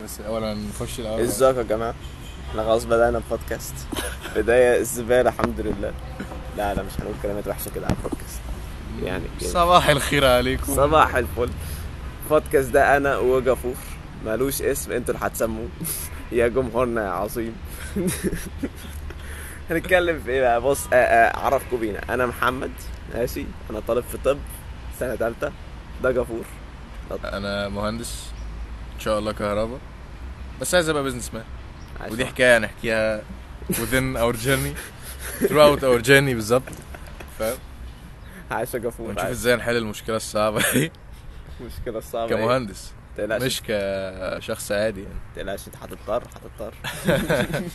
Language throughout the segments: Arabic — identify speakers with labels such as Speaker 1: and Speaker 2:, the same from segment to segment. Speaker 1: بس اولا نخش الاول
Speaker 2: ازيكم إيه يا جماعه احنا خلاص بدانا البودكاست بدايه الزباله الحمد لله لا لا مش هنقول كلمات وحشه كده على البودكاست يعني كده.
Speaker 1: صباح الخير عليكم
Speaker 2: صباح الفل البودكاست ده انا وجافور مالوش اسم انتوا اللي هتسموه يا جمهورنا يا عظيم هنتكلم في ايه بقى بص آه، آه، اعرفكم بينا انا محمد ماشي انا طالب في طب سنه ثالثه ده جافور
Speaker 1: انا مهندس ان شاء الله كهرباء بس عايز ابقى بزنس مان
Speaker 2: عايش
Speaker 1: ودي حكايه هنحكيها within our journey throughout our journey بالظبط فاهم
Speaker 2: عايش يا جافور
Speaker 1: ونشوف
Speaker 2: عايش.
Speaker 1: ازاي نحل المشكله الصعبه دي
Speaker 2: المشكله
Speaker 1: طيب.
Speaker 2: الصعبه إيه؟
Speaker 1: كمهندس
Speaker 2: تقلقش
Speaker 1: مش كشخص عادي يعني
Speaker 2: تقلقش انت هتضطر هتضطر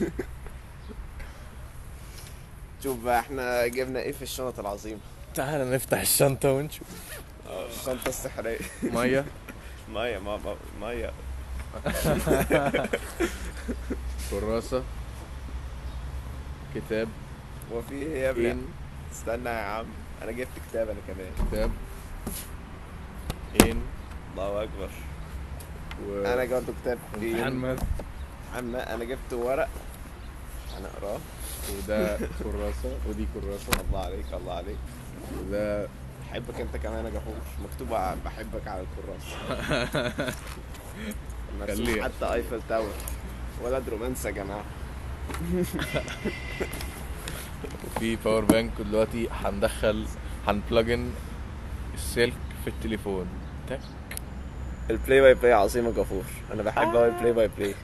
Speaker 2: شوف بقى احنا جبنا ايه في الشنط العظيمه
Speaker 1: تعال نفتح الشنطه ونشوف
Speaker 2: الشنطه السحريه
Speaker 1: ميه
Speaker 2: ميه ماما ميه
Speaker 1: كراسه كتاب إيه؟
Speaker 2: وفي ايه يا ابني
Speaker 1: ان
Speaker 2: استنى يا عم انا جبت كتاب انا كمان
Speaker 1: كتاب ان
Speaker 2: الله اكبر
Speaker 1: و
Speaker 2: انا جبت كتاب
Speaker 1: امتحان
Speaker 2: ايه
Speaker 1: ماث
Speaker 2: عم انا جبت ورق انا اقراه
Speaker 1: وده كراسه ودي كراسه
Speaker 2: الله عليك الله عليك
Speaker 1: ده
Speaker 2: بحبك انت كمان يا جحوش مكتوب ع- بحبك على الكراسه مرسوم
Speaker 1: خليها.
Speaker 2: حتى ايفل تاور ولد رومانسي يا جماعه
Speaker 1: في باور بانك دلوقتي هندخل هنبلجن السلك في التليفون تك
Speaker 2: البلاي باي بلاي عظيمه جفور انا بحب قوي البلاي باي بلاي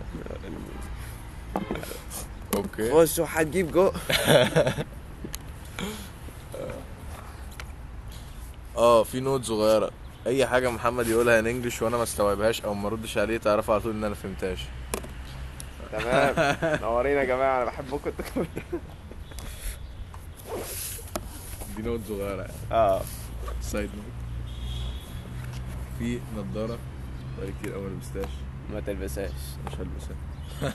Speaker 1: اوكي
Speaker 2: خش وهتجيب جو
Speaker 1: اه في نوت صغيره اي حاجه محمد يقولها ان انجلش وانا ما استوعبهاش او ما ردش عليه تعرف على طول ان انا ما فهمتهاش
Speaker 2: تمام نورينا يا جماعه انا بحبكم انتوا كمان.
Speaker 1: دي نوت صغيره
Speaker 2: اه
Speaker 1: سايد نوت في نضاره بقالي كتير قوي ما لبستهاش
Speaker 2: ما تلبسهاش
Speaker 1: مش هلبسها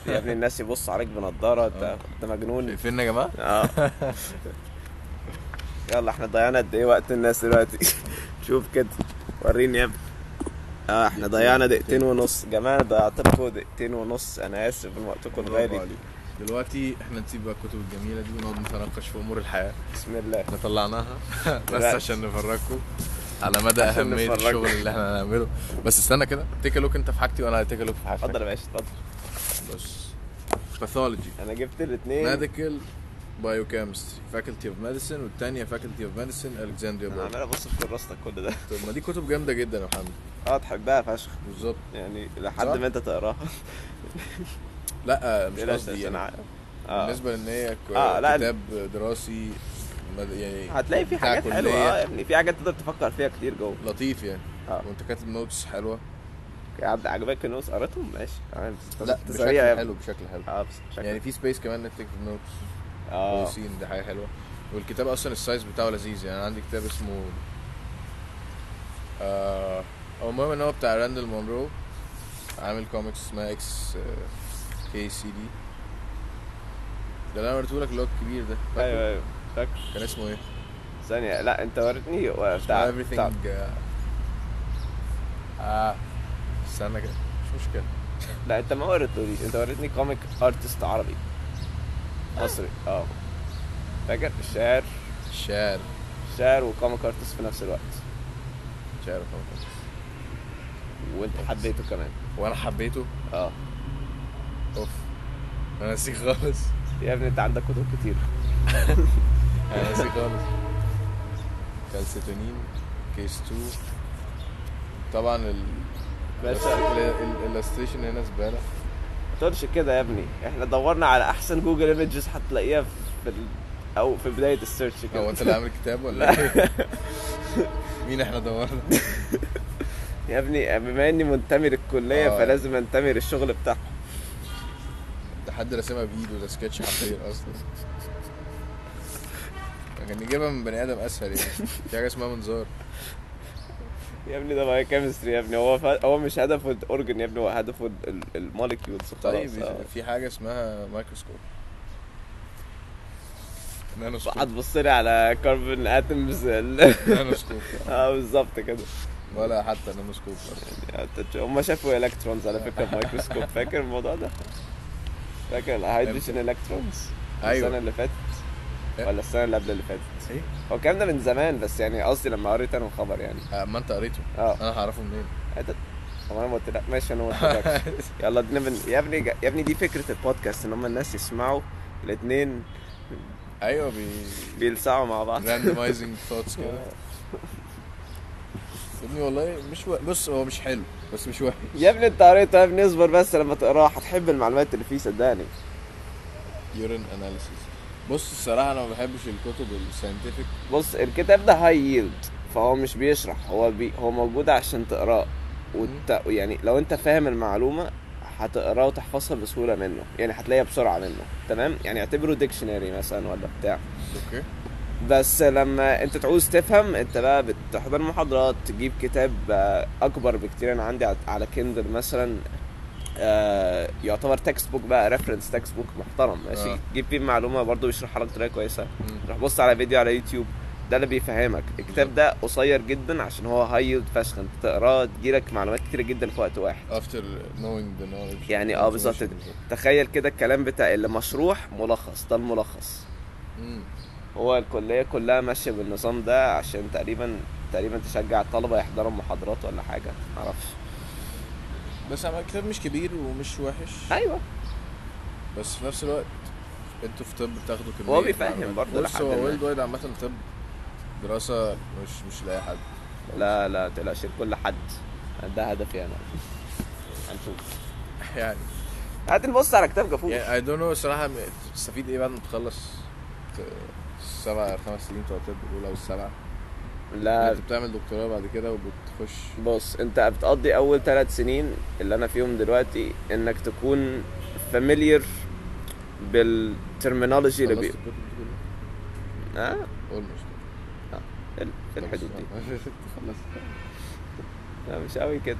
Speaker 2: يا ابني الناس يبص عليك بنضاره
Speaker 1: آه.
Speaker 2: انت انت مجنون
Speaker 1: شايفيننا يا جماعه
Speaker 2: اه يلا احنا ضيعنا قد ايه وقت الناس دلوقتي شوف كده وريني يا ابني اه احنا ضيعنا دقيقتين ونص جماعه ضيعت لكم دقيقتين ونص انا اسف من وقتكم
Speaker 1: برافو
Speaker 2: الغالي
Speaker 1: عليك دلوقتي احنا نسيب بقى الكتب الجميله دي ونقعد نتناقش في امور الحياه
Speaker 2: بسم الله
Speaker 1: احنا طلعناها بس
Speaker 2: دلوقتي.
Speaker 1: عشان نفرجكم على مدى
Speaker 2: عشان
Speaker 1: اهميه
Speaker 2: نفرجكم.
Speaker 1: الشغل اللي احنا هنعمله بس استنى كده تيك لوك انت في حاجتي وانا هتيك لوك في حاجتك
Speaker 2: اتفضل يا إيه؟ باشا اتفضل
Speaker 1: بص باثولوجي
Speaker 2: انا جبت الاثنين
Speaker 1: ميديكال بايوكيمستري فاكولتي اوف ميديسن والثانيه فاكولتي اوف ميديسن الكسندريا
Speaker 2: انا
Speaker 1: بول
Speaker 2: عمال ابص في كراستك كل ده
Speaker 1: طب ما دي كتب جامده جدا يا محمد
Speaker 2: اه تحبها فشخ
Speaker 1: بالظبط
Speaker 2: يعني لحد
Speaker 1: صح؟
Speaker 2: ما انت تقراها
Speaker 1: لا مش
Speaker 2: بلاش
Speaker 1: قصدي
Speaker 2: عشان
Speaker 1: يعني.
Speaker 2: ع- اه
Speaker 1: بالنسبه لان هي ك-
Speaker 2: آه، لا.
Speaker 1: كتاب دراسي مد- يعني
Speaker 2: هتلاقي في
Speaker 1: بتاع
Speaker 2: حاجات حلوه
Speaker 1: كلية.
Speaker 2: اه يا ابني في حاجات تقدر تفكر فيها كتير جوه
Speaker 1: لطيف يعني
Speaker 2: آه.
Speaker 1: وانت كاتب نوتس حلوه
Speaker 2: يا عبد عجبك النص قريتهم ماشي تمام بس
Speaker 1: لا
Speaker 2: أنت سريع
Speaker 1: بشكل
Speaker 2: يا ابني.
Speaker 1: حلو بشكل حلو
Speaker 2: اه بس شكلك
Speaker 1: يعني في سبيس كمان انك تكتب نوتس
Speaker 2: اه
Speaker 1: كويسين دي حاجه حلوه والكتاب اصلا السايز بتاعه لذيذ يعني أنا عندي كتاب اسمه آه هو المهم ان هو بتاع راندل مونرو عامل كوميكس اسمها آه، اكس كي سي دي ده اللي انا وريته لك اللي هو الكبير ده فاكره؟
Speaker 2: ايوه ايوه فاكر
Speaker 1: كان اسمه ايه؟
Speaker 2: ثانية لا انت وريتني بتاع
Speaker 1: اسمه
Speaker 2: بتاع-
Speaker 1: everything آه، اه استنى كده مش مشكله
Speaker 2: لا انت ما وريتنيش انت وريتني كوميك ارتست عربي مصري اه فاكر الشاعر
Speaker 1: الشعر
Speaker 2: الشاعر وكوميك ارتست في نفس الوقت
Speaker 1: شعر طبعا
Speaker 2: وانت حبيته كمان
Speaker 1: وانا حبيته
Speaker 2: اه
Speaker 1: اوف انا نسيه خالص
Speaker 2: يا ابني انت عندك كتب كتير
Speaker 1: انا ناسي آه، خالص كالسيتونين كيس 2 طبعا ال
Speaker 2: بس-
Speaker 1: الاستيشن هنا زباله
Speaker 2: ما تقولش كده يا ابني احنا دورنا على احسن جوجل ايمجز هتلاقيها في ال... او في بداية السيرش
Speaker 1: هو
Speaker 2: كده
Speaker 1: انت اللي عامل كتاب ولا ايه؟ مين احنا دورنا؟
Speaker 2: يا ابني بما اني منتمي للكلية
Speaker 1: آه.
Speaker 2: فلازم انتمي للشغل بتاعها
Speaker 1: ده حد راسمها بايده ده سكتش حقير اصلا كان نجيبها يعني من بني ادم اسهل يعني في حاجه اسمها منظار
Speaker 2: يا ابني ده باي كيمستري يا ابني هو ف... هو مش هدفه الاورجن يا ابني هو هدفه ال- ال- المولكيولز
Speaker 1: طيب
Speaker 2: خلاص آه.
Speaker 1: في حاجه اسمها مايكروسكوب نانوسكوب
Speaker 2: هتبص لي على كاربون اتمز ال...
Speaker 1: نانوسكوب
Speaker 2: اه بالظبط كده
Speaker 1: ولا حتى نانوسكوب اصلا
Speaker 2: هم شافوا الكترونز على فكره بمايكروسكوب فاكر الموضوع ده؟ فاكر الهيدروجين الكترونز؟
Speaker 1: ايوه
Speaker 2: السنه اللي فاتت
Speaker 1: إيه؟
Speaker 2: ولا السنه اللي قبل اللي فاتت
Speaker 1: ايه
Speaker 2: هو الكلام ده من زمان بس يعني قصدي لما قريت انا الخبر يعني
Speaker 1: آه، ما انت قريته
Speaker 2: اه
Speaker 1: انا هعرفه منين
Speaker 2: أنت- هو انا ما قلت لك ماشي انا ما قلتلكش يلا بنبن... يا ابني يا ابني دي فكره البودكاست ان هم الناس يسمعوا الاثنين
Speaker 1: ايوه بي
Speaker 2: بيلسعوا مع بعض
Speaker 1: راندمايزنج ثوتس كده يا ابني والله مش و... بص هو مش حلو بس مش وحش
Speaker 2: يا ابني انت قريته يا ابني اصبر بس لما تقراه هتحب المعلومات اللي فيه صدقني
Speaker 1: يورين اناليسيس بص الصراحه انا ما بحبش الكتب الساينتفك
Speaker 2: بص الكتاب ده هاي ييلد فهو مش بيشرح هو بي هو موجود عشان تقراه وت... يعني لو انت فاهم المعلومه هتقراه وتحفظها بسهوله منه يعني هتلاقيها بسرعه منه تمام يعني اعتبره ديكشنري مثلا ولا بتاع
Speaker 1: اوكي
Speaker 2: بس لما انت تعوز تفهم انت بقى بتحضر محاضرات تجيب كتاب آه، اكبر بكتير انا عندي على- على كندل مثلا آه، يعتبر تكست بوك بقى ريفرنس تكست بوك محترم ماشي
Speaker 1: آه.
Speaker 2: تجيب فيه معلومه برضه بيشرحها لك بطريقه كويسه
Speaker 1: مم.
Speaker 2: روح بص على فيديو على يوتيوب ده اللي بيفهمك الكتاب ده قصير جدا عشان هو هاي فشخ انت تقراه تجيلك معلومات كتيره جدا في وقت واحد
Speaker 1: after knowing the knowledge
Speaker 2: يعني اه بالظبط. تخيل كده الكلام بتاع اللي مشروح ملخص ده الملخص
Speaker 1: مم.
Speaker 2: هو الكليه كلها ماشيه بالنظام ده عشان تقريبا تقريبا تشجع الطلبه يحضروا محاضرات ولا حاجه معرفش
Speaker 1: بس عم الكتاب مش كبير ومش وحش
Speaker 2: ايوه
Speaker 1: بس في نفس الوقت انتوا في طب بتاخدوا كميه
Speaker 2: هو بيفهم
Speaker 1: معلومات.
Speaker 2: برضه
Speaker 1: بص
Speaker 2: لحد
Speaker 1: هو
Speaker 2: ما.
Speaker 1: ويلد وايد عامه طب دراسه مش مش لاي حد
Speaker 2: لا لا تقلقش كل حد ده هدفي انا هنشوف
Speaker 1: يعني
Speaker 2: هات نبص على كتاب جافور
Speaker 1: يعني اي دونت نو الصراحه تستفيد ايه بعد ما تخلص السبع خمس سنين بتوع الطب الاولى والسبعه
Speaker 2: لا
Speaker 1: انت يعني بتعمل دكتوراه بعد كده وبتخش
Speaker 2: بص انت بتقضي اول ثلاث سنين اللي انا فيهم دلوقتي انك تكون فاميليير بالترمينولوجي اللي بي
Speaker 1: خلصت الكتب دي كلها؟
Speaker 2: ها
Speaker 1: almost.
Speaker 2: في الحدود دي
Speaker 1: خلصت
Speaker 2: لا مش قوي كده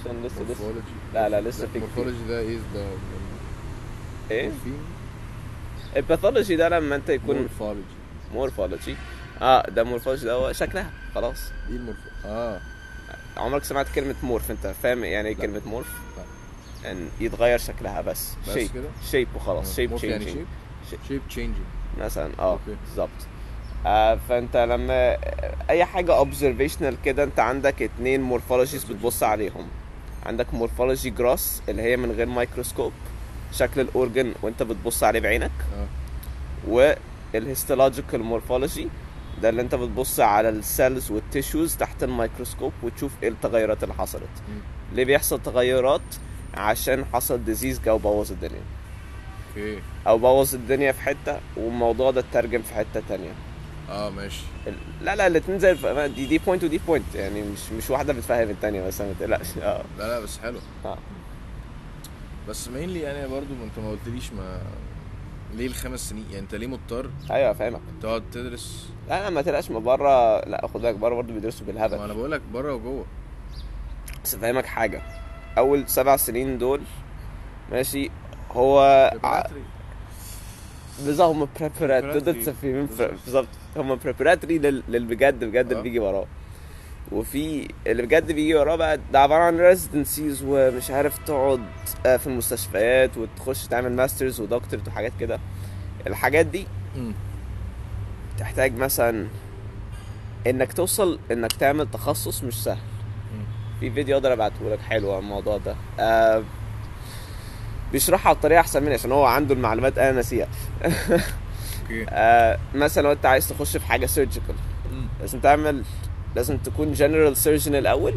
Speaker 2: عشان لسه لسه
Speaker 1: morphology
Speaker 2: لا لا لسه في كتير
Speaker 1: morphology ده ايه ده
Speaker 2: ايه الباثولوجي Eh, ده لما انت يكون
Speaker 1: مورفولوجي
Speaker 2: مورفولوجي اه ده مورفولوجي ده هو شكلها خلاص
Speaker 1: ايه المورف اه
Speaker 2: عمرك سمعت كلمة مورف انت فاهم يعني ايه
Speaker 1: لا.
Speaker 2: كلمة مورف؟ ان يتغير شكلها بس
Speaker 1: بس
Speaker 2: شيب
Speaker 1: كده؟
Speaker 2: شيب وخلاص شيب
Speaker 1: morph يعني
Speaker 2: changing.
Speaker 1: شيب شيب تشينجينج
Speaker 2: مثلا اه
Speaker 1: أوكي.
Speaker 2: بالظبط آه فانت لما اي حاجه اوبزرفيشنال كده انت عندك اتنين مورفولوجيز بتبص عليهم عندك مورفولوجي جراس اللي هي من غير مايكروسكوب شكل الاورجن وانت بتبص عليه بعينك
Speaker 1: اه
Speaker 2: والهيستولوجيكال مورفولوجي ده اللي انت بتبص على السيلز والتيشوز تحت الميكروسكوب وتشوف ايه التغيرات اللي حصلت ليه بيحصل تغيرات عشان حصل ديزيز جه وبوظ الدنيا
Speaker 1: اوكي
Speaker 2: او بوظ الدنيا في حته والموضوع ده اترجم في حته تانية
Speaker 1: اه ماشي
Speaker 2: ال- لا لا الاتنين زي الف... دي دي بوينت ودي بوينت يعني مش مش واحده بتفهم التانية بس ما تقلقش اه
Speaker 1: لا لا بس حلو
Speaker 2: آه.
Speaker 1: بس مينلي يعني برضو ما انت ما قلتليش ما ليه الخمس سنين يعني انت ليه مضطر
Speaker 2: ايوه فاهمك
Speaker 1: تقعد تدرس
Speaker 2: لا لا ما تقلقش ما بره لا خد بالك بره برضه بيدرسوا
Speaker 1: ما انا
Speaker 2: بالهبل
Speaker 1: بقول لك بره وجوه
Speaker 2: بس فاهمك حاجه اول سبع سنين دول ماشي هو ع-
Speaker 1: preparatory.
Speaker 2: بالظبط هم بريبراتوري تقدر
Speaker 1: preparatory.
Speaker 2: تسميهم بر-
Speaker 1: بالظبط.
Speaker 2: بالظبط هم بريبراتوري للبجد بجد
Speaker 1: آه.
Speaker 2: اللي بيجي وراه وفي اللي بجد بيجي وراه بقى ده عباره عن ريزيدنسيز ومش عارف تقعد آه، في المستشفيات وتخش تعمل ماسترز ودكتورت وحاجات كده الحاجات دي
Speaker 1: مم.
Speaker 2: تحتاج مثلا انك توصل انك تعمل تخصص مش سهل
Speaker 1: مم.
Speaker 2: في فيديو اقدر ابعته لك حلو عن الموضوع ده آه بيشرحها بطريقه احسن مني عشان هو عنده المعلومات انا ناسيها
Speaker 1: اوكي
Speaker 2: آه مثلا لو انت عايز تخش في حاجه سيرجيكال
Speaker 1: مم.
Speaker 2: لازم تعمل لازم تكون جنرال سيرجن الاول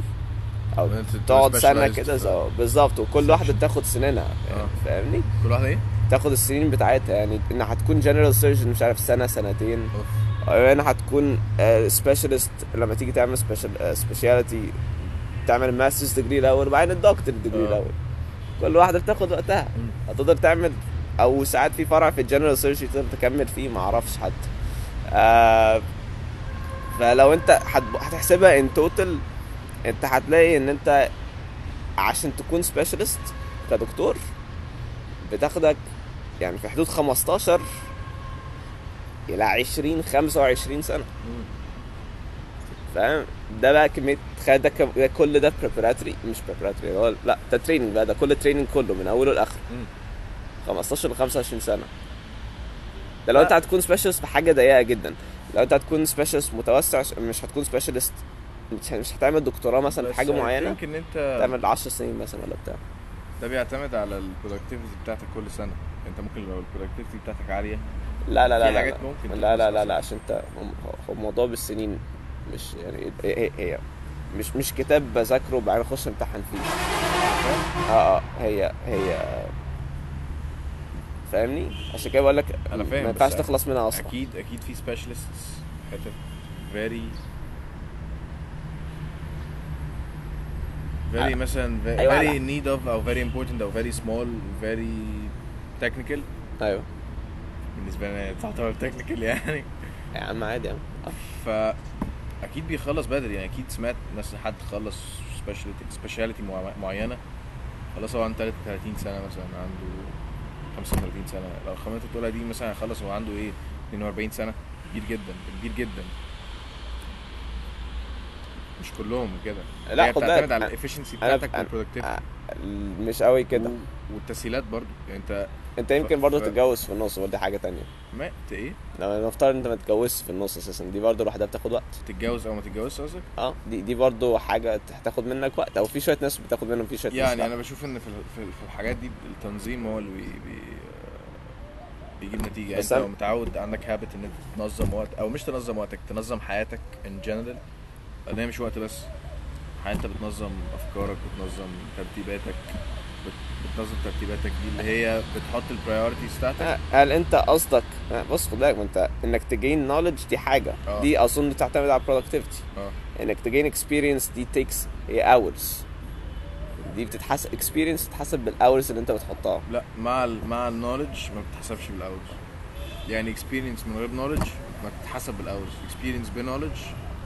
Speaker 2: او
Speaker 1: وانت تبقى
Speaker 2: تقعد سنه
Speaker 1: specialized
Speaker 2: كده
Speaker 1: في-
Speaker 2: زي- بالظبط وكل واحده بتاخد سنينها
Speaker 1: آه.
Speaker 2: فاهمني
Speaker 1: كل واحده ايه؟
Speaker 2: تاخد السنين بتاعتها يعني ان هتكون جنرال سيرجن مش عارف سنه سنتين
Speaker 1: اوف
Speaker 2: او يعني هتكون سبيشالست لما تيجي تعمل سبيشاليتي تعمل ماسترز ديجري الاول وبعدين الدكتور ديجري
Speaker 1: آه.
Speaker 2: الاول كل واحده بتاخد وقتها
Speaker 1: مم.
Speaker 2: هتقدر تعمل او ساعات في فرع في الجنرال سيرجري تقدر تكمل فيه ما اعرفش حد آه فلو انت هتب- هتحسبها ان توتال انت هتلاقي ان انت عشان تكون سبيشالست كدكتور بتاخدك يعني في حدود 15 الى 20 25 سنه
Speaker 1: مم.
Speaker 2: فاهم ده بقى كميه تخيل ده كم- ده كل ده بريبراتوري مش بريبراتوري هو لا ده تريننج بقى ده كل التريننج كله من اوله لاخره
Speaker 1: مم.
Speaker 2: 15 ل 25 سنه ده لو
Speaker 1: لا.
Speaker 2: انت هتكون سبيشالست في حاجه ضيقه جدا لو انت هتكون سبيشالست متوسع مش هتكون سبيشالست مش مش هتعمل دكتوراه مثلا في
Speaker 1: بس
Speaker 2: حاجه
Speaker 1: I
Speaker 2: معينه
Speaker 1: think ان انت
Speaker 2: تعمل 10 سنين مثلا ولا بتاع
Speaker 1: ده بيعتمد على البرودكتيفيتي بتاعتك كل سنه انت ممكن لو البرودكتيفيتي بتاعتك عاليه
Speaker 2: لا لا لا
Speaker 1: في
Speaker 2: لا
Speaker 1: حاجات
Speaker 2: لا.
Speaker 1: ممكن
Speaker 2: لا لا
Speaker 1: تدرس
Speaker 2: لا لا
Speaker 1: أصلاً.
Speaker 2: عشان انت هو- هو الموضوع بالسنين مش يعني هي هي- هي مش مش كتاب بذاكره وبعدين اخش امتحن فيه اه اه هي هي فاهمني عشان كده بقول لك
Speaker 1: انا فاهم
Speaker 2: ما ينفعش
Speaker 1: بس
Speaker 2: تخلص منها اصلا
Speaker 1: اكيد اكيد في سبيشالستس حتت فيري فيري مثلا
Speaker 2: أيوة،
Speaker 1: فيري
Speaker 2: لا.
Speaker 1: نيد اوف او فيري امبورتنت او فيري سمول فيري تكنيكال
Speaker 2: ايوه
Speaker 1: بالنسبه لنا تعتبر تكنيكال يعني
Speaker 2: يا عم عادي يا عم آه.
Speaker 1: فا اكيد بيخلص بدري يعني اكيد سمعت ناس حد خلص سبيشاليتي سبيشاليتي معينه خلاص هو عنده 33 سنه مثلا عنده 35 سنه لو الخامات التقيله دي مثلا هيخلص وهو عنده ايه 42 سنه كبير جدا كبير جدا مش كلهم كده
Speaker 2: لا،
Speaker 1: هي
Speaker 2: خد
Speaker 1: بتعتمد
Speaker 2: بالك.
Speaker 1: على الافشنسي
Speaker 2: انا
Speaker 1: بتاعتك
Speaker 2: أنا-
Speaker 1: والبرودكتيفيتي
Speaker 2: مش قوي كده
Speaker 1: والتسهيلات برضو يعني انت
Speaker 2: انت يمكن برضه
Speaker 1: ف-
Speaker 2: تتجوز في النص ودي حاجه تانية
Speaker 1: ما ت- ايه
Speaker 2: لو نفترض انت ما تتجوزش في النص اساسا دي برضه لوحدها بتاخد وقت
Speaker 1: تتجوز او ما تتجوزش قصدك
Speaker 2: اه دي دي برضه حاجه هتاخد منك وقت او في شويه ناس بتاخد منهم في شويه ناس
Speaker 1: يعني
Speaker 2: لأ.
Speaker 1: انا بشوف ان في ال- في ال- في الحاجات دي التنظيم هو اللي بي بي بيجيب نتيجه يعني
Speaker 2: بس
Speaker 1: انت
Speaker 2: أنا-
Speaker 1: لو متعود عندك هابت ان انت تنظم وقت او مش تنظم وقتك تنظم حياتك ان جنرال لان هي مش وقت بس حياتك انت بتنظم افكارك بتنظم ترتيباتك بت- بتنظم ترتيباتك دي اللي هي بتحط البرايورتيز بتاعتك
Speaker 2: آه، هل انت قصدك آه، بص خد بالك ما انت انك تجين نوليدج دي حاجه
Speaker 1: آه.
Speaker 2: دي اظن بتعتمد على productivity
Speaker 1: اه
Speaker 2: انك تجين اكسبيرينس دي تيكس هي hours دي بتتحسب اكسبيرينس بتتحسب بالاورز اللي انت بتحطها
Speaker 1: لا مع ال مع النولج ما بتتحسبش بالاورز يعني اكسبيرينس من غير نولج ما بتتحسب بالاورز اكسبيرينس بنولج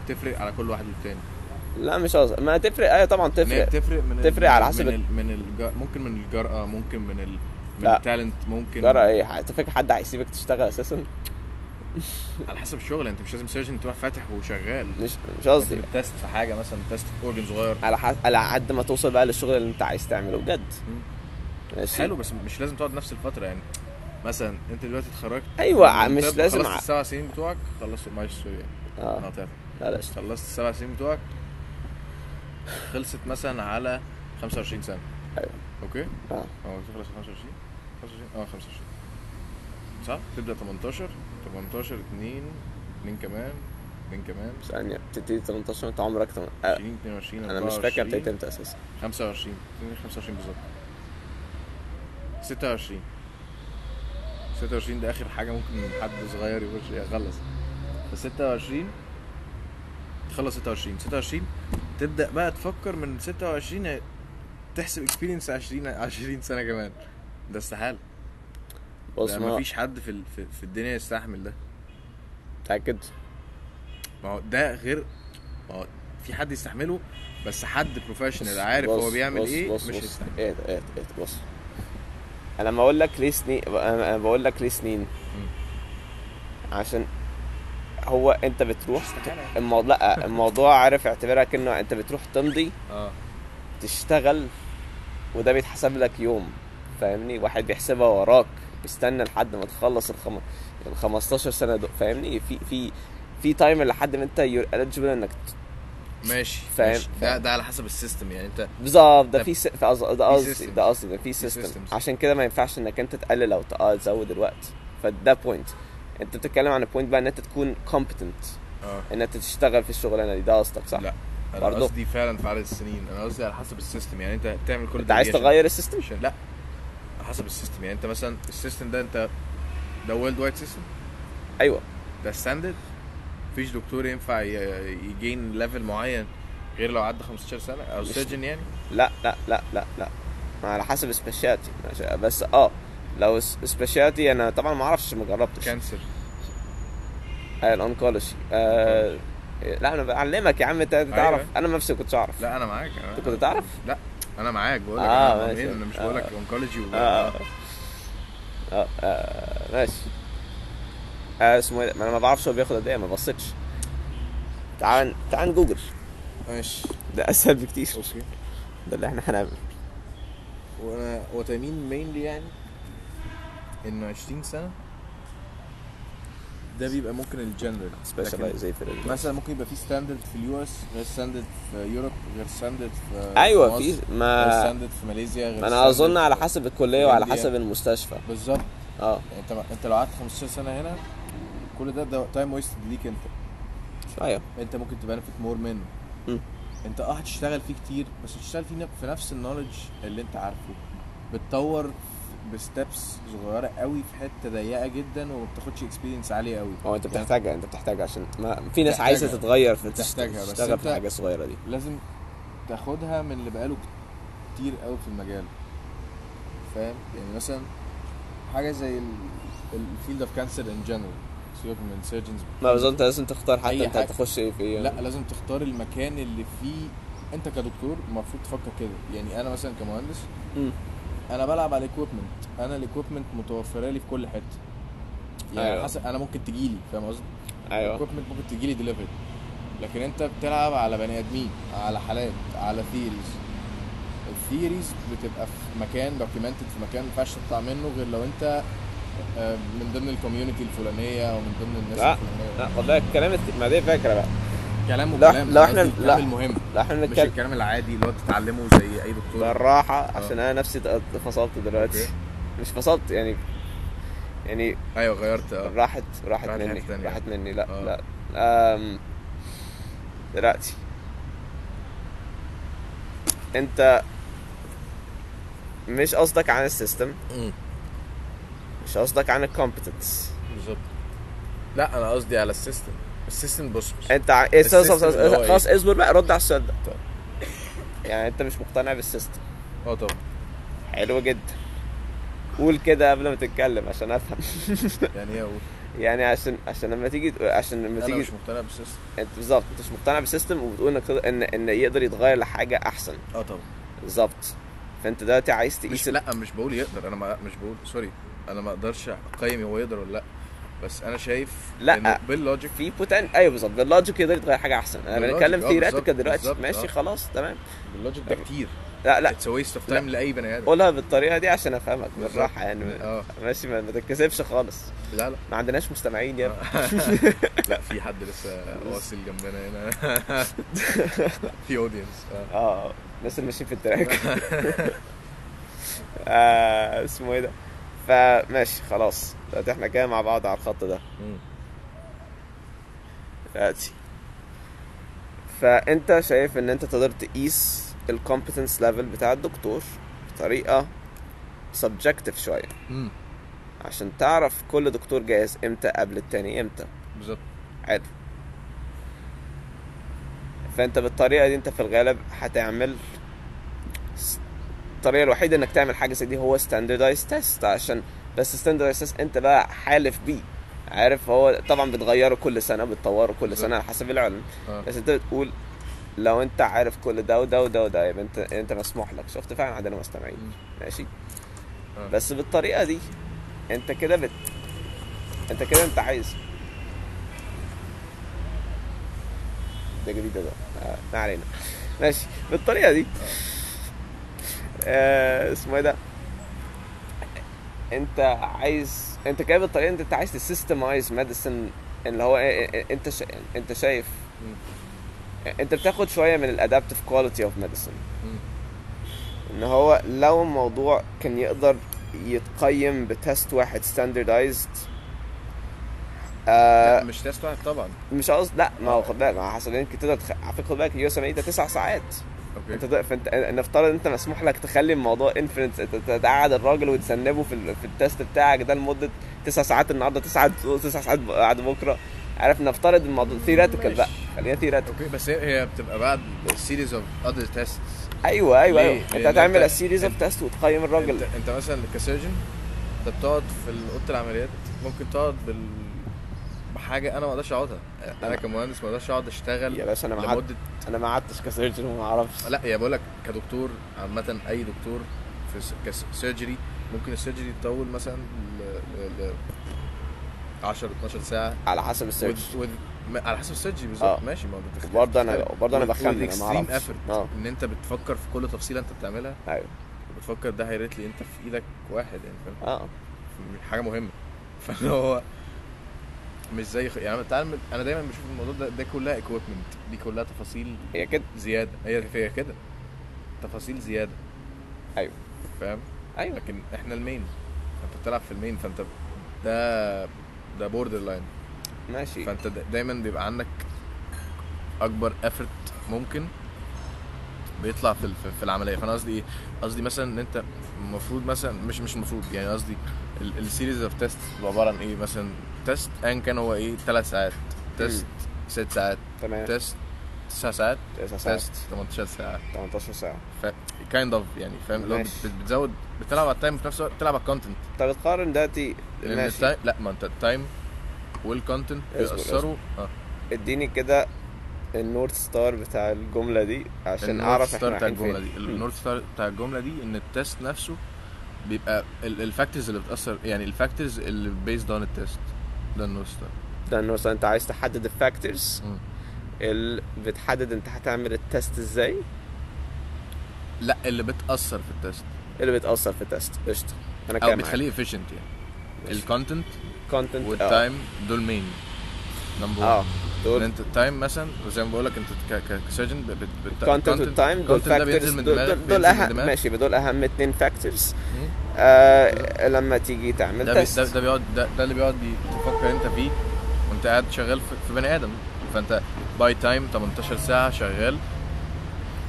Speaker 1: تفرق على كل واحد والتاني
Speaker 2: لا مش قصدي ما تفرق ايوه طبعا
Speaker 1: ان هي
Speaker 2: تفرق
Speaker 1: بتفرق من
Speaker 2: تفرق
Speaker 1: من-
Speaker 2: على حسب
Speaker 1: من, ال- من الج... ممكن من الجرأة ممكن من ال... من
Speaker 2: لا.
Speaker 1: التالنت ممكن
Speaker 2: جرى ايه انت فاكر حد هيسيبك تشتغل اساسا
Speaker 1: على حسب الشغل انت مش لازم سيرجن تروح فاتح وشغال
Speaker 2: مش مش قصدي
Speaker 1: ممكن تست في حاجه مثلا تست في اورجن صغير
Speaker 2: على حد على قد ما توصل بقى للشغل اللي انت عايز تعمله بجد
Speaker 1: مم.
Speaker 2: ماشي
Speaker 1: حلو بس مش لازم تقعد نفس الفتره يعني مثلا انت دلوقتي اتخرجت
Speaker 2: أيوة، مش
Speaker 1: طب
Speaker 2: لازم ع-
Speaker 1: خلصت السبع سنين بتوعك خلصت معلش سوري يعني
Speaker 2: اه
Speaker 1: أنا قطعت.
Speaker 2: لا لا
Speaker 1: خلصت السبع سنين بتوعك خلصت مثلا على 25 سنه
Speaker 2: أيوة.
Speaker 1: اوكي
Speaker 2: اه
Speaker 1: اه قلت خلاص 25 25 اه 25 صح تبدا 18 18 2 2 كمان 2 كمان
Speaker 2: ثانية بتبتدي 18 انت عمرك تم- آه،
Speaker 1: 20 22
Speaker 2: انا مش فاكر
Speaker 1: 24
Speaker 2: بتبتدي امتى اساسا
Speaker 1: 25 22 25 بالظبط 26 26 ده اخر حاجه ممكن حد صغير يخش يخلص ف 26 تخلص 26 26 تبدا بقى تفكر من 26 تحسب اكسبيرينس 20 20 سنه كمان ده استحاله
Speaker 2: بص
Speaker 1: ما
Speaker 2: ما
Speaker 1: فيش يعني حد في ال- في- في الدنيا يستحمل ده
Speaker 2: متأكد
Speaker 1: ما هو ده غير ما هو في حد يستحمله بس حد بروفيشنال عارف
Speaker 2: بص-
Speaker 1: هو بيعمل
Speaker 2: بص-
Speaker 1: ايه
Speaker 2: بص
Speaker 1: مش
Speaker 2: بص
Speaker 1: يستحمل
Speaker 2: ايه ايه ايه بص انا لما اقول لك ليه سنين انا بقول لك ليه سنين عشان هو انت بتروح
Speaker 1: استحالة.
Speaker 2: الموضوع لا الموضوع عارف اعتبرها كانه انت بتروح تمضي
Speaker 1: اه
Speaker 2: تشتغل وده بيتحسب لك يوم فاهمني واحد بيحسبها وراك بيستنى لحد ما تخلص الخم... ال 15 سنه دول فاهمني في في في تايم لحد ما انت يور eligible انك ت-
Speaker 1: ماشي
Speaker 2: فاهم-
Speaker 1: ماشي. ده
Speaker 2: فاهم.
Speaker 1: ده على حسب السيستم يعني انت
Speaker 2: بالظبط ده
Speaker 1: طب،
Speaker 2: في س... في قصد- ده قصدي
Speaker 1: systems.
Speaker 2: ده قصدي ده في
Speaker 1: في
Speaker 2: سيستم
Speaker 1: systems.
Speaker 2: عشان كده ما ينفعش انك انت تقلل او تق- تزود الوقت فده بوينت انت بتتكلم عن البوينت بقى ان انت تكون competent
Speaker 1: اه
Speaker 2: ان انت تشتغل في الشغلانه دي ده قصدك صح؟
Speaker 1: لا انا
Speaker 2: برضه.
Speaker 1: قصدي فعلا في عدد السنين انا قصدي على حسب السيستم يعني انت بتعمل كل
Speaker 2: انت
Speaker 1: ده
Speaker 2: عايز
Speaker 1: ليه عشان-
Speaker 2: تغير السيستم؟
Speaker 1: عشان لا على حسب السيستم يعني انت مثلا السيستم ده انت ده وورلد وايد سيستم
Speaker 2: ايوه
Speaker 1: ده ستاندرد مفيش دكتور ينفع ي- يجين ليفل معين غير لو عدى 15 سنه او
Speaker 2: مش-
Speaker 1: سيرجن يعني
Speaker 2: لا لا لا لا لا ما على حسب سبيشالتي بس اه لو سبيشالتي انا طبعا ما اعرفش ما جربتش كان
Speaker 1: كانسر
Speaker 2: الانكولوجي آه لا انا بعلمك يا عم انت أنت
Speaker 1: أيوة.
Speaker 2: تعرف انا نفسي كنتش اعرف
Speaker 1: لا انا معاك أنا-
Speaker 2: انت كنت تعرف؟
Speaker 1: لا انا معاك بقول لك
Speaker 2: آه،
Speaker 1: انا
Speaker 2: ماشي.
Speaker 1: مين؟ انا مش بقول لك اونكولوجي
Speaker 2: اه اه إيه آه، ماشي آه اسمه ايه ده؟ ما انا ما بعرفش هو بياخد قد ايه ما بصيتش إيه، تعال تعال جوجل
Speaker 1: ماشي
Speaker 2: ده اسهل بكتير
Speaker 1: اوكي
Speaker 2: ده اللي احنا هنعمله
Speaker 1: وانا وات اي مين مينلي يعني ان 20 سنه ده بيبقى ممكن الجنرال لكن
Speaker 2: specialization
Speaker 1: مثلا ممكن يبقى في ستاندرد في اليو اس غير ستاندرد في يوروب غير ستاندرد في
Speaker 2: ايوه
Speaker 1: مصر،
Speaker 2: في
Speaker 1: غير
Speaker 2: ما
Speaker 1: ستاندرد في ماليزيا غير
Speaker 2: ما انا
Speaker 1: standard
Speaker 2: اظن على
Speaker 1: في-
Speaker 2: حسب الكليه وعلى
Speaker 1: India.
Speaker 2: حسب المستشفى
Speaker 1: بالظبط
Speaker 2: اه
Speaker 1: يعني انت انت لو قعدت 15 سنه هنا كل ده ده تايم ويستد ليك انت
Speaker 2: ايوه
Speaker 1: انت ممكن تبنفيت مور منه
Speaker 2: مم.
Speaker 1: انت اه هتشتغل فيه كتير بس هتشتغل فيه نف- في نفس النولج اللي انت عارفه بتطور بستبس صغيره قوي في حته ضيقه جدا وما بتاخدش اكسبيرينس عاليه قوي
Speaker 2: هو انت
Speaker 1: يعني
Speaker 2: بتحتاجها انت بتحتاجها عشان ما في ناس
Speaker 1: بتحتاجها.
Speaker 2: عايزه تتغير في
Speaker 1: بتحتاجها، بس
Speaker 2: تشتغل
Speaker 1: انت-
Speaker 2: في الحاجه الصغيره دي
Speaker 1: لازم تاخدها من اللي بقاله كتير قوي في المجال فاهم يعني مثلا حاجه زي الفيلد اوف كانسر ان جنرال سيبك من سيرجنز
Speaker 2: ما بالظبط انت لازم تختار حتى
Speaker 1: أي
Speaker 2: انت
Speaker 1: حاجة.
Speaker 2: هتخش ايه في ايه
Speaker 1: لا لازم تختار المكان اللي فيه انت كدكتور المفروض تفكر كده يعني انا مثلا كمهندس
Speaker 2: مم.
Speaker 1: انا بلعب على الايكويبمنت انا الايكويبمنت متوفره لي في كل حته يعني
Speaker 2: أيوة.
Speaker 1: أيوة. حسب انا ممكن تجيلي فاهم قصدي
Speaker 2: ايوه
Speaker 1: الايكويبمنت ممكن تجيلي ديليفري لكن انت بتلعب على بني ادمين على حالات على ثيريز الثيريز بتبقى في مكان دوكيومنتد في مكان ما ينفعش تطلع منه غير لو انت آه، من ضمن الكوميونتي الفلانيه او من ضمن الناس
Speaker 2: لا
Speaker 1: الفلانيه
Speaker 2: لا خد بالك الكلام الت- ما دي فكره بقى
Speaker 1: كلام
Speaker 2: لا،
Speaker 1: وكلام
Speaker 2: لا،
Speaker 1: أنا
Speaker 2: إحنا-
Speaker 1: قصدي
Speaker 2: لا.
Speaker 1: الكلام المهم
Speaker 2: لا احنا
Speaker 1: مش
Speaker 2: بنتكلم
Speaker 1: الكلام العادي اللي هو بتتعلمه زي اي دكتور
Speaker 2: بالراحه عشان انا نفسي اتق- اتفصلت دلوقتي
Speaker 1: آه. أوكي.
Speaker 2: مش فصلت يعني يعني
Speaker 1: ايوه غيرت اه
Speaker 2: راحت راحت
Speaker 1: راحت
Speaker 2: مني
Speaker 1: حتة تانية.
Speaker 2: راحت مني لا
Speaker 1: آه.
Speaker 2: لا أم، دلوقتي انت مش قصدك عن السيستم
Speaker 1: مم.
Speaker 2: مش قصدك عن الكومبتنس
Speaker 1: بالظبط لا انا قصدي على السيستم السيستم بص بص
Speaker 2: انت ع- ايه
Speaker 1: السيستم
Speaker 2: خلاص خلاص-
Speaker 1: اللي هو إيه؟
Speaker 2: خلاص اصبر بقى رد على السؤال ده
Speaker 1: طيب.
Speaker 2: يعني انت مش مقتنع بالسيستم
Speaker 1: اه طبعا
Speaker 2: حلو جدا قول كده قبل ما تتكلم عشان افهم
Speaker 1: يعني ايه اقول
Speaker 2: يعني عشان عشان لما تيجي عشان لما
Speaker 1: انا
Speaker 2: تيجي
Speaker 1: مش مقتنع بالسيستم
Speaker 2: انت بالظبط انت مش مقتنع بالسيستم وبتقول انك تقدر- ان ان يقدر يتغير لحاجه احسن
Speaker 1: اه طبعا
Speaker 2: بالظبط فانت دلوقتي عايز
Speaker 1: مش
Speaker 2: تقيس ال-
Speaker 1: لا مش بقول يقدر انا ما مش بقول سوري انا ما اقدرش اقيم هو يقدر ولا لا بس انا شايف
Speaker 2: لا.
Speaker 1: إنه باللوجيك
Speaker 2: في بوتن ايوه بالظبط اللوجيك يقدر يتغير حاجه احسن انا
Speaker 1: باللوجيك،
Speaker 2: بنتكلم
Speaker 1: اه
Speaker 2: ثيوريتيكال
Speaker 1: بالظبط،
Speaker 2: دلوقتي
Speaker 1: بالظبط،
Speaker 2: ماشي
Speaker 1: اه.
Speaker 2: خلاص تمام
Speaker 1: باللوجيك ده كتير
Speaker 2: لا لا
Speaker 1: اتس ويست اوف تايم لاي بني ادم
Speaker 2: قولها بالطريقه دي عشان افهمك
Speaker 1: بالظبط.
Speaker 2: بالراحه يعني
Speaker 1: اه
Speaker 2: ماشي ما ما تتكسفش خالص
Speaker 1: لا لا
Speaker 2: ما عندناش مستمعين
Speaker 1: آه.
Speaker 2: يا ابني.
Speaker 1: لا في حد لسه واصل جنبنا هنا في آه، اودينس
Speaker 2: اه الناس اللي ماشيين في التراك آه اسمه ايه ده فماشي خلاص دلوقتي احنا كده مع بعض على الخط ده دلوقتي فانت شايف ان انت تقدر تقيس الكومبتنس ليفل بتاع الدكتور بطريقه سبجكتيف شويه
Speaker 1: امم
Speaker 2: عشان تعرف كل دكتور جاهز امتى قبل التاني امتى
Speaker 1: بالظبط
Speaker 2: حلو فانت بالطريقه دي انت في الغالب هتعمل س- الطريقه الوحيده انك تعمل حاجه زي دي هو ستاندردايز تيست عشان بس ستاندردايز تيست انت بقى حالف بيه عارف هو طبعا بتغيره كل سنه بتطوره كل سنه على حسب العلم
Speaker 1: اه
Speaker 2: بس انت بتقول لو انت عارف كل ده وده وده وده يبقى انت انت مسموح لك شفت فعلا عندنا مستمعين
Speaker 1: مم.
Speaker 2: ماشي
Speaker 1: آه.
Speaker 2: بس بالطريقه دي انت كده بت انت كده انت عايز ده جديد ده آه، ما علينا ماشي بالطريقه دي آه اسمه ايه ده انت عايز انت كده بالطريقه انت انت عايز تسيستمايز ميديسن اللي هو ايه- ايه- انت شا... انت شايف
Speaker 1: مم.
Speaker 2: انت بتاخد شويه من الادابتيف كواليتي اوف ميديسن
Speaker 1: مم.
Speaker 2: ان هو لو الموضوع كان يقدر يتقيم بتست واحد ستاندردايزد
Speaker 1: لا
Speaker 2: آه
Speaker 1: مش تيست واحد طبعا
Speaker 2: مش قصد لا ما هو خد بالك ما هو حسب انك تقدر تخ... على فكره خد بالك اليو اس ام اي ده تسع ساعات انت
Speaker 1: اوكي
Speaker 2: ده فانت نفترض انت مسموح لك تخلي الموضوع انفينيت انت تقعد الراجل وتذنبه في, ال... في التست بتاعك ده لمده تسع ساعات النهارده تسع تسع ساعات بعد بكره عارف نفترض الموضوع ثيوريتيكال بقى
Speaker 1: ماشي.
Speaker 2: خلينا ثيوريتيكال
Speaker 1: اوكي بس هي هي بتبقى بعد سيريز اوف اذر تيستس
Speaker 2: ايوه ايوه
Speaker 1: ليه؟
Speaker 2: ايوه انت
Speaker 1: لأن
Speaker 2: هتعمل
Speaker 1: أنت-
Speaker 2: السيريز اوف تيست وتقيم الراجل
Speaker 1: انت, انت مثلا كسيرجن انت بتقعد في اوضه العمليات ممكن تقعد بال بحاجه انا ما اقدرش اقعدها انا كمهندس ما اقدرش اقعد
Speaker 2: يا
Speaker 1: اشتغل
Speaker 2: باشا انا ما قعدت
Speaker 1: لمده
Speaker 2: انا ما قعدتش كسيرجن وما اعرفش
Speaker 1: لا يا بقول لك كدكتور عامه اي دكتور في س- كسيرجري ممكن السيرجري تطول مثلا ل ل- ل 10 12 ساعه
Speaker 2: على حسب السيرج
Speaker 1: with, with ما- على حسب السيرجي
Speaker 2: آه.
Speaker 1: بالظبط ماشي ما هو ده تختلف-
Speaker 2: وبرضه انا
Speaker 1: تختلف.
Speaker 2: برضه انا
Speaker 1: وال-
Speaker 2: بخمن انا ما
Speaker 1: والextreme
Speaker 2: اعرفش
Speaker 1: effort.
Speaker 2: اه
Speaker 1: ان انت بتفكر في كل تفصيله انت بتعملها
Speaker 2: ايوه
Speaker 1: وبتفكر ده هيريت لي انت في ايدك واحد يعني فاهم
Speaker 2: اه
Speaker 1: حاجه مهمه فاللي هو مش زي خ- يعني تعال انا دايما بشوف الموضوع ده ده كلها اكويبمنت دي كلها تفاصيل
Speaker 2: هي كده
Speaker 1: زياده هي هي كده تفاصيل زياده
Speaker 2: أيوة.
Speaker 1: فاهم
Speaker 2: ايوه
Speaker 1: لكن احنا المين انت بتلعب في المين فانت ده ده بوردر لاين
Speaker 2: ماشي
Speaker 1: فانت دا- دايما بيبقى عندك اكبر افرت ممكن بيطلع في في- في العمليه فانا قصدي ايه قصدي مثلا ان انت المفروض مثلا مش مش المفروض يعني قصدي السيريز اوف تيست عباره عن ايه مثلا تيست ان كان هو ايه 3 ساعات تيست
Speaker 2: إيه.
Speaker 1: 6 ساعات
Speaker 2: تمام
Speaker 1: تيست 9 ساعات
Speaker 2: 9 ساعات
Speaker 1: تيست 18 ساعه
Speaker 2: 18 ساعه
Speaker 1: كايند اوف يعني فاهم لو
Speaker 2: ماشي.
Speaker 1: بتزود بتلعب على التايم في نفس الوقت بتلعب على الكونتنت
Speaker 2: انت بتقارن دلوقتي
Speaker 1: لان
Speaker 2: ماشي
Speaker 1: التايم لا ما انت التايم والكونتنت
Speaker 2: اصبر، اصبر.
Speaker 1: بيأثروا اه
Speaker 2: اديني كده النورث ستار بتاع الجمله دي عشان
Speaker 1: النورث
Speaker 2: اعرف
Speaker 1: ستار
Speaker 2: احنا
Speaker 1: بتاع
Speaker 2: رايحين
Speaker 1: الجمله دي
Speaker 2: فين مم.
Speaker 1: النورث ستار بتاع الجمله دي ان التيست نفسه بيبقى الفاكتورز اللي بتاثر يعني الفاكتورز اللي بيزد اون التيست ده النورث ستار
Speaker 2: ده النورث ستار انت عايز تحدد الفاكتورز
Speaker 1: مم.
Speaker 2: اللي بتحدد انت هتعمل التست ازاي
Speaker 1: لا اللي بتاثر في التيست
Speaker 2: اللي بتاثر في التست قشطه انا
Speaker 1: او
Speaker 2: كده معاك
Speaker 1: بتخليه افيشنت يعني
Speaker 2: ماشي.
Speaker 1: الكونتنت
Speaker 2: كونتنت
Speaker 1: والتايم دول مين نمبر
Speaker 2: اه
Speaker 1: 1 ان
Speaker 2: آه. دول
Speaker 1: انت التايم مثلا وزي ما بقول لك انت كسيرجن
Speaker 2: كونتنت والتايم دول
Speaker 1: ده بينزل
Speaker 2: فاكتورز
Speaker 1: من
Speaker 2: دول,
Speaker 1: دماغك
Speaker 2: دول, دول
Speaker 1: بينزل من
Speaker 2: اهم
Speaker 1: دماغك.
Speaker 2: ماشي دول اهم اتنين فاكتورز
Speaker 1: مم.
Speaker 2: آه لما تيجي تعمل
Speaker 1: ده بي-
Speaker 2: تست
Speaker 1: ده ده بيقعد ده, ده اللي بيقعد بي- تفكر انت فيه وانت قاعد شغال في, في بني ادم فانت باي تايم 18 ساعه شغال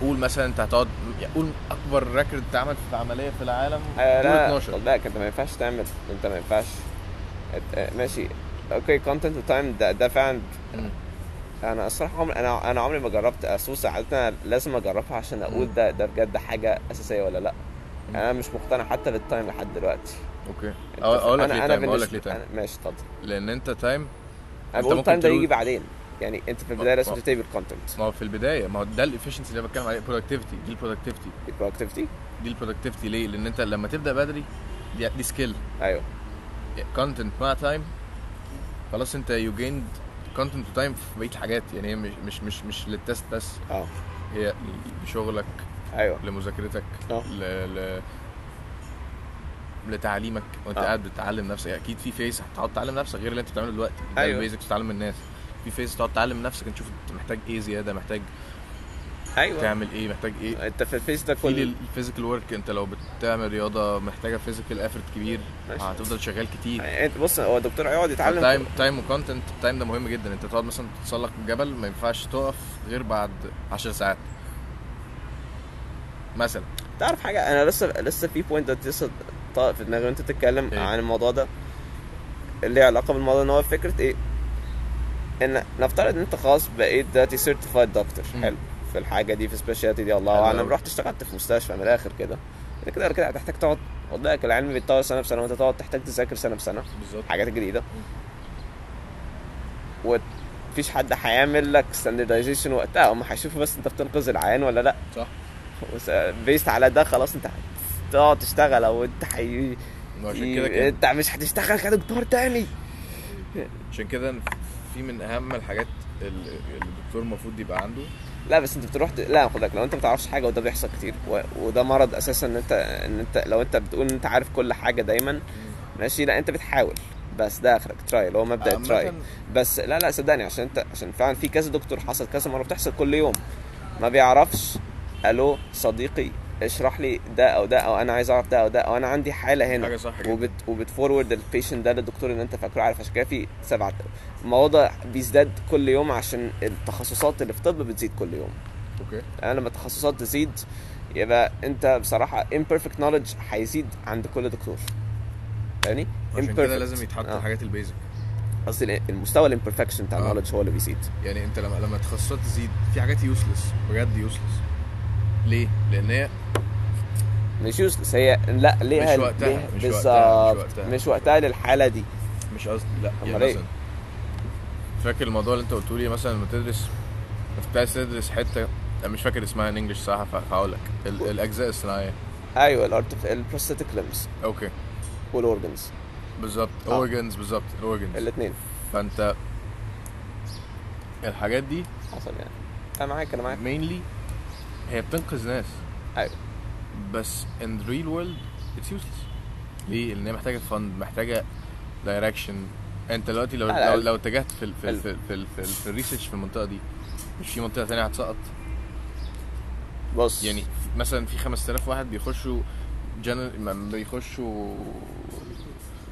Speaker 1: قول مثلا انت هتقعد يعني قول اكبر ريكورد اتعمل في عمليه في العالم
Speaker 2: آه،
Speaker 1: طول
Speaker 2: لا
Speaker 1: 12
Speaker 2: خد بالك انت ما ينفعش تعمل انت ما ينفعش ات- آه، ماشي اوكي كونتنت وتايم ده ده فعلا
Speaker 1: مم.
Speaker 2: انا الصراحه عمري انا انا عمري ما جربت اسوس عادة لازم اجربها عشان اقول
Speaker 1: مم.
Speaker 2: ده ده بجد حاجه اساسيه ولا لا انا مش مقتنع حتى بالتايم لحد دلوقتي
Speaker 1: اوكي أو-
Speaker 2: انت-
Speaker 1: اقول لك
Speaker 2: أنا-
Speaker 1: ليه
Speaker 2: أنا
Speaker 1: تايم اقول لك
Speaker 2: بالنسبة-
Speaker 1: ليه تايم
Speaker 2: أنا- ماشي اتفضل
Speaker 1: لان انت تايم
Speaker 2: انا
Speaker 1: انت
Speaker 2: بقول
Speaker 1: ممكن
Speaker 2: التايم ده
Speaker 1: تقول- أه،
Speaker 2: يجي بعدين يعني انت في البدايه لازم
Speaker 1: ما-
Speaker 2: تبتدي بالكونتنت
Speaker 1: ما هو في البدايه ما هو ده الافشنسي اللي انا بتكلم عليه برودكتيفيتي دي البرودكتيفيتي
Speaker 2: البرودكتيفيتي
Speaker 1: دي البرودكتيفيتي ليه؟ لان انت لما تبدا بدري دي, دي سكيل
Speaker 2: ايوه
Speaker 1: كونتنت مع تايم خلاص انت يو جيند كونتنت وتايم في بقيه الحاجات يعني هي مش مش مش مش للتست بس
Speaker 2: اه
Speaker 1: هي لشغلك
Speaker 2: ايوه
Speaker 1: لمذاكرتك
Speaker 2: اه.
Speaker 1: ل... ل... لتعليمك وانت
Speaker 2: اه.
Speaker 1: قاعد بتتعلم نفسك اكيد في فيس هتقعد تتعلم نفسك غير اللي انت بتعمله دلوقتي ده
Speaker 2: ايوه.
Speaker 1: البيزكس بتتعلم من الناس في فيس تقعد تتعلم نفسك تشوف انت محتاج ايه زياده محتاج
Speaker 2: ايوه
Speaker 1: تعمل ايه محتاج ايه
Speaker 2: انت في الفيس ده
Speaker 1: في
Speaker 2: كل
Speaker 1: الفيزيكال ورك انت لو بتعمل رياضه محتاجه فيزيكال افورت كبير
Speaker 2: ماشي.
Speaker 1: هتفضل شغال كتير
Speaker 2: انت بص هو الدكتور هيقعد يتعلم
Speaker 1: تايم تايم وكونتنت التايم ده مهم جدا انت تقعد مثلا تتسلق جبل ما ينفعش تقف غير بعد 10 ساعات مثلا
Speaker 2: تعرف حاجه انا لسه لسه في بوينت لسه طاق في دماغي وانت بتتكلم
Speaker 1: إيه؟
Speaker 2: عن الموضوع ده اللي علاقه بالموضوع ان هو فكره ايه ان نفترض ان انت خلاص بقيت دلوقتي سيرتيفايد دكتور
Speaker 1: مم.
Speaker 2: حلو في الحاجه دي في سبيشاليتي دي الله
Speaker 1: حلو
Speaker 2: اعلم
Speaker 1: أوي.
Speaker 2: رحت اشتغلت في مستشفى من الاخر كده انت كده ولا كده هتحتاج تقعد وضعك العلم بيتطور سنه بسنه وانت تقعد تحتاج تذاكر سنه بسنه
Speaker 1: بالظبط
Speaker 2: الحاجات الجديده ومفيش حد هيعمل لك ستاندردايزيشن وقتها هم هيشوفوا بس انت بتنقذ العيان ولا لا
Speaker 1: صح
Speaker 2: بيست على ده خلاص انت هتقعد تشتغل او انت حي...
Speaker 1: وعشان كده كان
Speaker 2: انت مش هتشتغل كدكتور تاني
Speaker 1: عشان كده في من اهم الحاجات اللي اللي الدكتور المفروض يبقى عنده
Speaker 2: لا بس انت بتروح ت... لا خد بالك لو انت ما تعرفش حاجه وده بيحصل كتير و... وده مرض اساسا ان انت ان انت لو انت بتقول ان انت عارف كل حاجه دايما ماشي لا انت بتحاول بس ده اخرك تراي اللي هو مبدا
Speaker 1: عامة-
Speaker 2: التراي بس لا لا صدقني عشان انت عشان فعلا في كذا دكتور حصل كذا مره بتحصل كل يوم ما بيعرفش الو صديقي اشرح لي ده او ده او انا عايز اعرف ده او ده او انا عندي حاله هنا
Speaker 1: حاجة صح جدا.
Speaker 2: وبت وبتفورورد البيشنت ده للدكتور اللي انت فاكره عارف عشان كده في سبعه الموضوع ده بيزداد كل يوم عشان التخصصات اللي في طب بتزيد كل يوم
Speaker 1: اوكي
Speaker 2: انا لما التخصصات تزيد يبقى انت بصراحه imperfect knowledge هيزيد عند كل دكتور يعني
Speaker 1: عشان كده لازم يتحط
Speaker 2: آه.
Speaker 1: الحاجات البيزك
Speaker 2: قصدي المستوى الامبرفكشن بتاع
Speaker 1: آه.
Speaker 2: النولج هو اللي بيزيد
Speaker 1: يعني انت لما لما تخصصات تزيد في حاجات يوسلس بجد يوسلس ليه؟ لان هي
Speaker 2: مش يوسلس هي لا ليها
Speaker 1: مش وقتها،
Speaker 2: ليها-
Speaker 1: مش وقتها، مش
Speaker 2: بالظبط
Speaker 1: وقتها.
Speaker 2: مش وقتها للحاله دي
Speaker 1: مش قصدي لا
Speaker 2: أمال إيه؟
Speaker 1: مثلا فاكر الموضوع اللي انت قلته لي مثلا لما تدرس كنت عايز تدرس حته انا مش فاكر اسمها ان انجلش صح فهقول لك الاجزاء الصناعيه
Speaker 2: ايوه الارت البروستاتيك لمس
Speaker 1: اوكي
Speaker 2: والاورجنز
Speaker 1: بالظبط
Speaker 2: آه.
Speaker 1: اورجنز بالظبط الاورجنز
Speaker 2: الاثنين
Speaker 1: فانت الحاجات دي
Speaker 2: حصل يعني انا معاك انا معاك
Speaker 1: mainly هي بتنقذ ناس
Speaker 2: أيوة.
Speaker 1: بس in the real world it's useless ليه؟ لان هي محتاجه فند محتاجه direction انت دلوقتي لو
Speaker 2: على
Speaker 1: لو,
Speaker 2: الأقل.
Speaker 1: لو اتجهت في ال- في ال-
Speaker 2: حلو.
Speaker 1: في ال- في ال- في, ال- في الريسيرش في المنطقه دي مش في منطقه ثانيه هتسقط
Speaker 2: بص
Speaker 1: يعني مثلا في 5000 واحد بيخشوا جنرال بيخشوا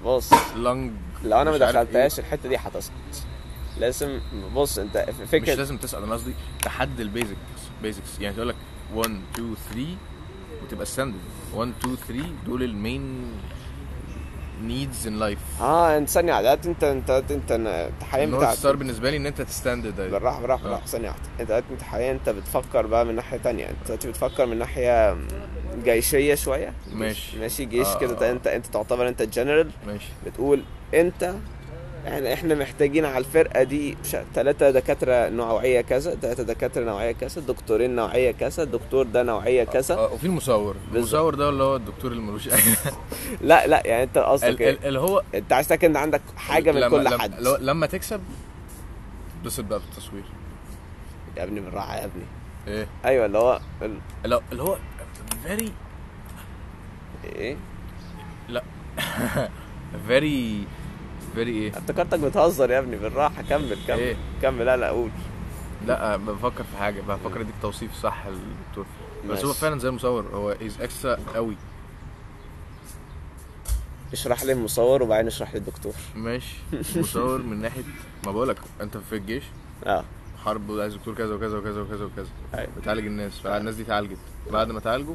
Speaker 2: بص
Speaker 1: لانج
Speaker 2: لو انا ما
Speaker 1: إيه.
Speaker 2: دخلتهاش الحته دي هتسقط لازم بص انت
Speaker 1: مش
Speaker 2: فكره
Speaker 1: لازم تسال انا قصدي تحدي البيزكس بيزكس يعني تقول لك 1 2 3 وتبقى ستاندرد 1 2 3 دول المين نيدز ان لايف
Speaker 2: اه انت ثانيه واحده انت انت انت انت انت حقيقي
Speaker 1: النورث
Speaker 2: بتاع
Speaker 1: ستار بالنسبه لي ان انت تستاندرد
Speaker 2: بالراحه بالراحه
Speaker 1: آه.
Speaker 2: بالراحه ثانيه واحده انت دلوقتي انت حاليا انت بتفكر بقى من ناحيه تانية انت دلوقتي بتفكر من ناحيه جيشيه شويه
Speaker 1: ماشي.
Speaker 2: ماشي جيش
Speaker 1: آه،
Speaker 2: كده
Speaker 1: آه.
Speaker 2: ده انت انت تعتبر انت الجنرال
Speaker 1: ماشي
Speaker 2: بتقول انت يعني احنا محتاجين على الفرقه دي ثلاثه دكاتره نوعيه كذا ثلاثه دكاتره نوعيه كذا دكتورين نوعيه كذا الدكتور ده نوعيه كذا
Speaker 1: آه، وفي المصور المصور ده اللي هو الدكتور اللي ملوش أي-
Speaker 2: لا لا يعني انت قصدك
Speaker 1: ال-
Speaker 2: ايه
Speaker 1: ال- اللي هو
Speaker 2: انت عايز تاكد ان عندك حاجه من
Speaker 1: لما-
Speaker 2: كل
Speaker 1: لما-
Speaker 2: حد
Speaker 1: لو- لما تكسب تبسط بقى بالتصوير
Speaker 2: يا ابني بالراحه يا ابني
Speaker 1: ايه
Speaker 2: ايوه اللي هو ال-
Speaker 1: لو- اللي هو فيري
Speaker 2: ايه
Speaker 1: فيري فيري ايه
Speaker 2: افتكرتك بتهزر يا ابني بالراحه كمل كمل
Speaker 1: ايه؟
Speaker 2: كمل لا لا قول
Speaker 1: لا بفكر في حاجه بفكر اديك توصيف صح للدكتور بس
Speaker 2: ماشي.
Speaker 1: هو فعلا زي المصور هو از اكسترا قوي
Speaker 2: اشرح لي المصور وبعدين اشرح لي الدكتور
Speaker 1: ماشي المصور من ناحيه ما بقولك انت في الجيش
Speaker 2: اه
Speaker 1: حرب عايز دكتور كذا وكذا وكذا وكذا وكذا
Speaker 2: أيوة.
Speaker 1: بتعالج الناس فالناس دي اتعالجت بعد ما اتعالجوا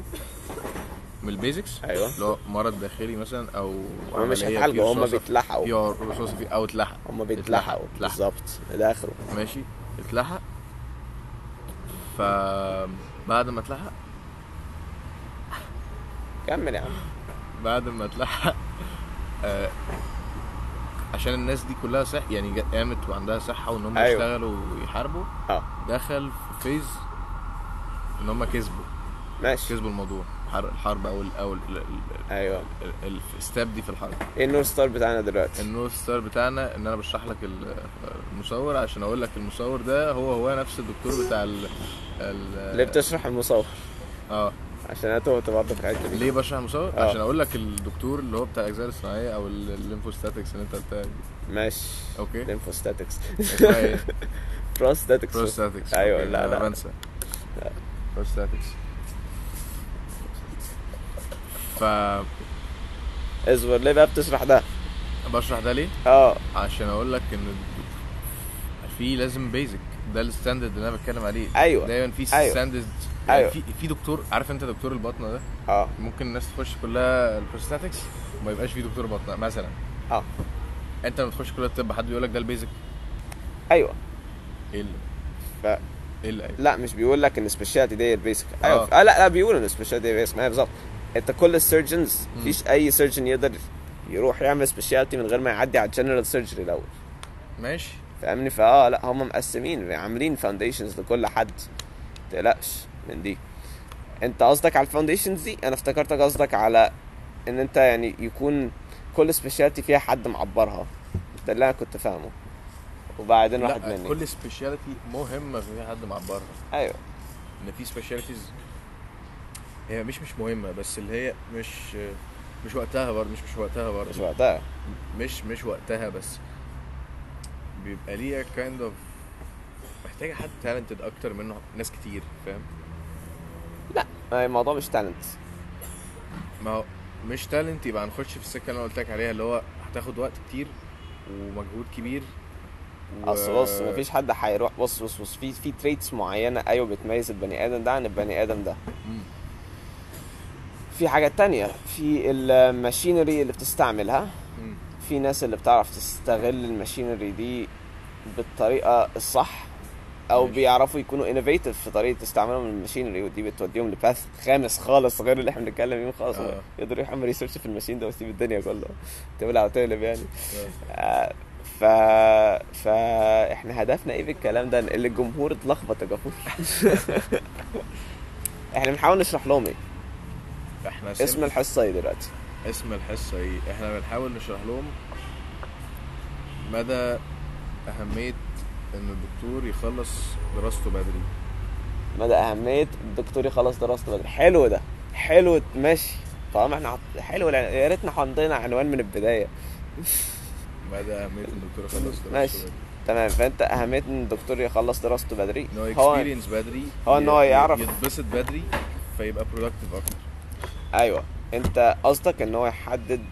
Speaker 1: من البيزكس
Speaker 2: أيوة.
Speaker 1: اللي هو مرض داخلي مثلا او
Speaker 2: هما مش
Speaker 1: عملية
Speaker 2: هيتعالجوا،
Speaker 1: في
Speaker 2: هما
Speaker 1: رصاصة-
Speaker 2: بيتلحقوا.
Speaker 1: في رصاصة في- او اتلحق
Speaker 2: هما
Speaker 1: اتلحق،
Speaker 2: بيتلحقوا
Speaker 1: اتلحق
Speaker 2: بالظبط ده اخره
Speaker 1: ماشي اتلحق فبعد ما اتلحق
Speaker 2: كمل يا عم
Speaker 1: بعد ما اتلحق آه، عشان الناس دي كلها صح يعني جا- قامت وعندها صحه وان هم
Speaker 2: أيوة.
Speaker 1: يشتغلوا ويحاربوا
Speaker 2: اه
Speaker 1: دخل في فيز ان هم كسبوا
Speaker 2: ماشي
Speaker 1: كسبوا الموضوع حر- الحرب او ال- او
Speaker 2: ايوه
Speaker 1: الستاب دي في الحرب
Speaker 2: ايه النور ستار بتاعنا دلوقتي
Speaker 1: النورث ستار بتاعنا ان انا بشرح لك ال- المصور عشان اقول لك المصور ده هو هو نفس الدكتور بتاع ال ال-
Speaker 2: ليه بتشرح المصور
Speaker 1: اه
Speaker 2: عشان انا تهت برضه في الحته دي
Speaker 1: ليه بشرح المصور؟
Speaker 2: آه.
Speaker 1: عشان اقول لك الدكتور اللي هو بتاع الاجزاء الصناعيه او ال- الليمفوستاتكس اللي انت قلتها دي.
Speaker 2: ماشي
Speaker 1: اوكي.
Speaker 2: ليمفوستاتكس
Speaker 1: اسمها ايه؟
Speaker 2: بروستاتكس
Speaker 1: بروستاتكس
Speaker 2: ايوه
Speaker 1: أوكي،
Speaker 2: لا
Speaker 1: أنا
Speaker 2: لا
Speaker 1: بنسى بروستاتكس ف
Speaker 2: اصبر ليه بقى بتشرح ده
Speaker 1: بشرح ده ليه؟
Speaker 2: اه
Speaker 1: عشان اقول لك ان الد- في لازم بيزك ده الستاندرد اللي انا بتكلم عليه
Speaker 2: أيوة.
Speaker 1: دايما في
Speaker 2: أيوة.
Speaker 1: ستاندرد
Speaker 2: أيوة.
Speaker 1: في في دكتور عارف انت دكتور البطنه ده
Speaker 2: اه
Speaker 1: ممكن الناس تخش كلها البروستاتكس وما يبقاش في دكتور بطنه مثلا
Speaker 2: اه
Speaker 1: انت لما تخش كليه الطب حد بيقول لك ده البيزك
Speaker 2: ايوه
Speaker 1: ايه اللي
Speaker 2: ف...
Speaker 1: ايه اللي أيوة.
Speaker 2: لا مش بيقول لك ان سبيشاليتي دي البيسك ايوه
Speaker 1: آه.
Speaker 2: آه. لا لا بيقول ان سبيشاليتي دي البيسك ما هي بالظبط انت كل السيرجنز مفيش اي سيرجن يقدر يروح يعمل سبيشاليتي من غير ما يعدي على الجنرال سيرجري الاول
Speaker 1: ماشي
Speaker 2: فاهمني فاه لا هم مقسمين عاملين فاونديشنز لكل حد متقلقش من دي انت قصدك على الفاونديشنز دي انا افتكرتك قصدك على ان انت يعني يكون كل سبيشاليتي فيها حد معبرها ده اللي انا كنت فاهمه وبعدين راحت
Speaker 1: لا
Speaker 2: مني
Speaker 1: كل سبيشاليتي مهمه في حد مع بره
Speaker 2: ايوه
Speaker 1: ان في سبيشاليتيز هي مش مش مهمه بس اللي هي مش مش وقتها برضه مش مش وقتها
Speaker 2: مش
Speaker 1: برضه
Speaker 2: وقتها
Speaker 1: مش مش وقتها بس بيبقى ليها كايند اوف محتاجه حد تالنتد اكتر منه ناس كتير فاهم
Speaker 2: لا الموضوع مش تالنت
Speaker 1: ما هو مش تالنت يبقى هنخش في السكه اللي انا قلت لك عليها اللي هو هتاخد وقت كتير ومجهود كبير و-
Speaker 2: اصل بص مفيش حد هيروح بص بص بص في في تريتس معينه ايوه بتميز البني ادم ده عن البني ادم ده
Speaker 1: مم.
Speaker 2: في حاجات تانية في الماشينري اللي بتستعملها
Speaker 1: مم.
Speaker 2: في ناس اللي بتعرف تستغل الماشينري دي بالطريقه الصح او
Speaker 1: ماشي.
Speaker 2: بيعرفوا يكونوا انوفيتيف في طريقه استعمالهم الماشينري ودي بتوديهم لباث خامس خالص غير اللي احنا بنتكلم فيه خالص
Speaker 1: آه.
Speaker 2: يقدروا يعملوا ريسيرش في الماشين ده ويسيب الدنيا كلها تبلع وتقلب يعني
Speaker 1: آه.
Speaker 2: آه، ف فاحنا هدفنا ايه بالكلام ده اللي الجمهور اتلخبط يا جمهور احنا بنحاول نشرح لهم ايه
Speaker 1: احنا
Speaker 2: اسم الحصه ايه دلوقتي
Speaker 1: اسم الحصة ايه؟ احنا بنحاول نشرح لهم مدى أهمية ان الدكتور يخلص دراسته بدري
Speaker 2: مدى اهميه الدكتور يخلص دراسته بدري حلو ده حلو ماشي طالما احنا حط... حلو الع- يا ريتنا حطينا عنوان من البدايه
Speaker 1: مدى اهميه ان الدكتور يخلص دراسته
Speaker 2: ماشي.
Speaker 1: بدري
Speaker 2: تمام فانت اهميه ان الدكتور يخلص دراسته بدري
Speaker 1: ان هو
Speaker 2: هو
Speaker 1: يكسبيرينس بدري
Speaker 2: هو إن هو
Speaker 1: ي-
Speaker 2: يعرف.
Speaker 1: يتبسط بدري فيبقى برودكتيف اكتر
Speaker 2: ايوه انت قصدك ان هو يحدد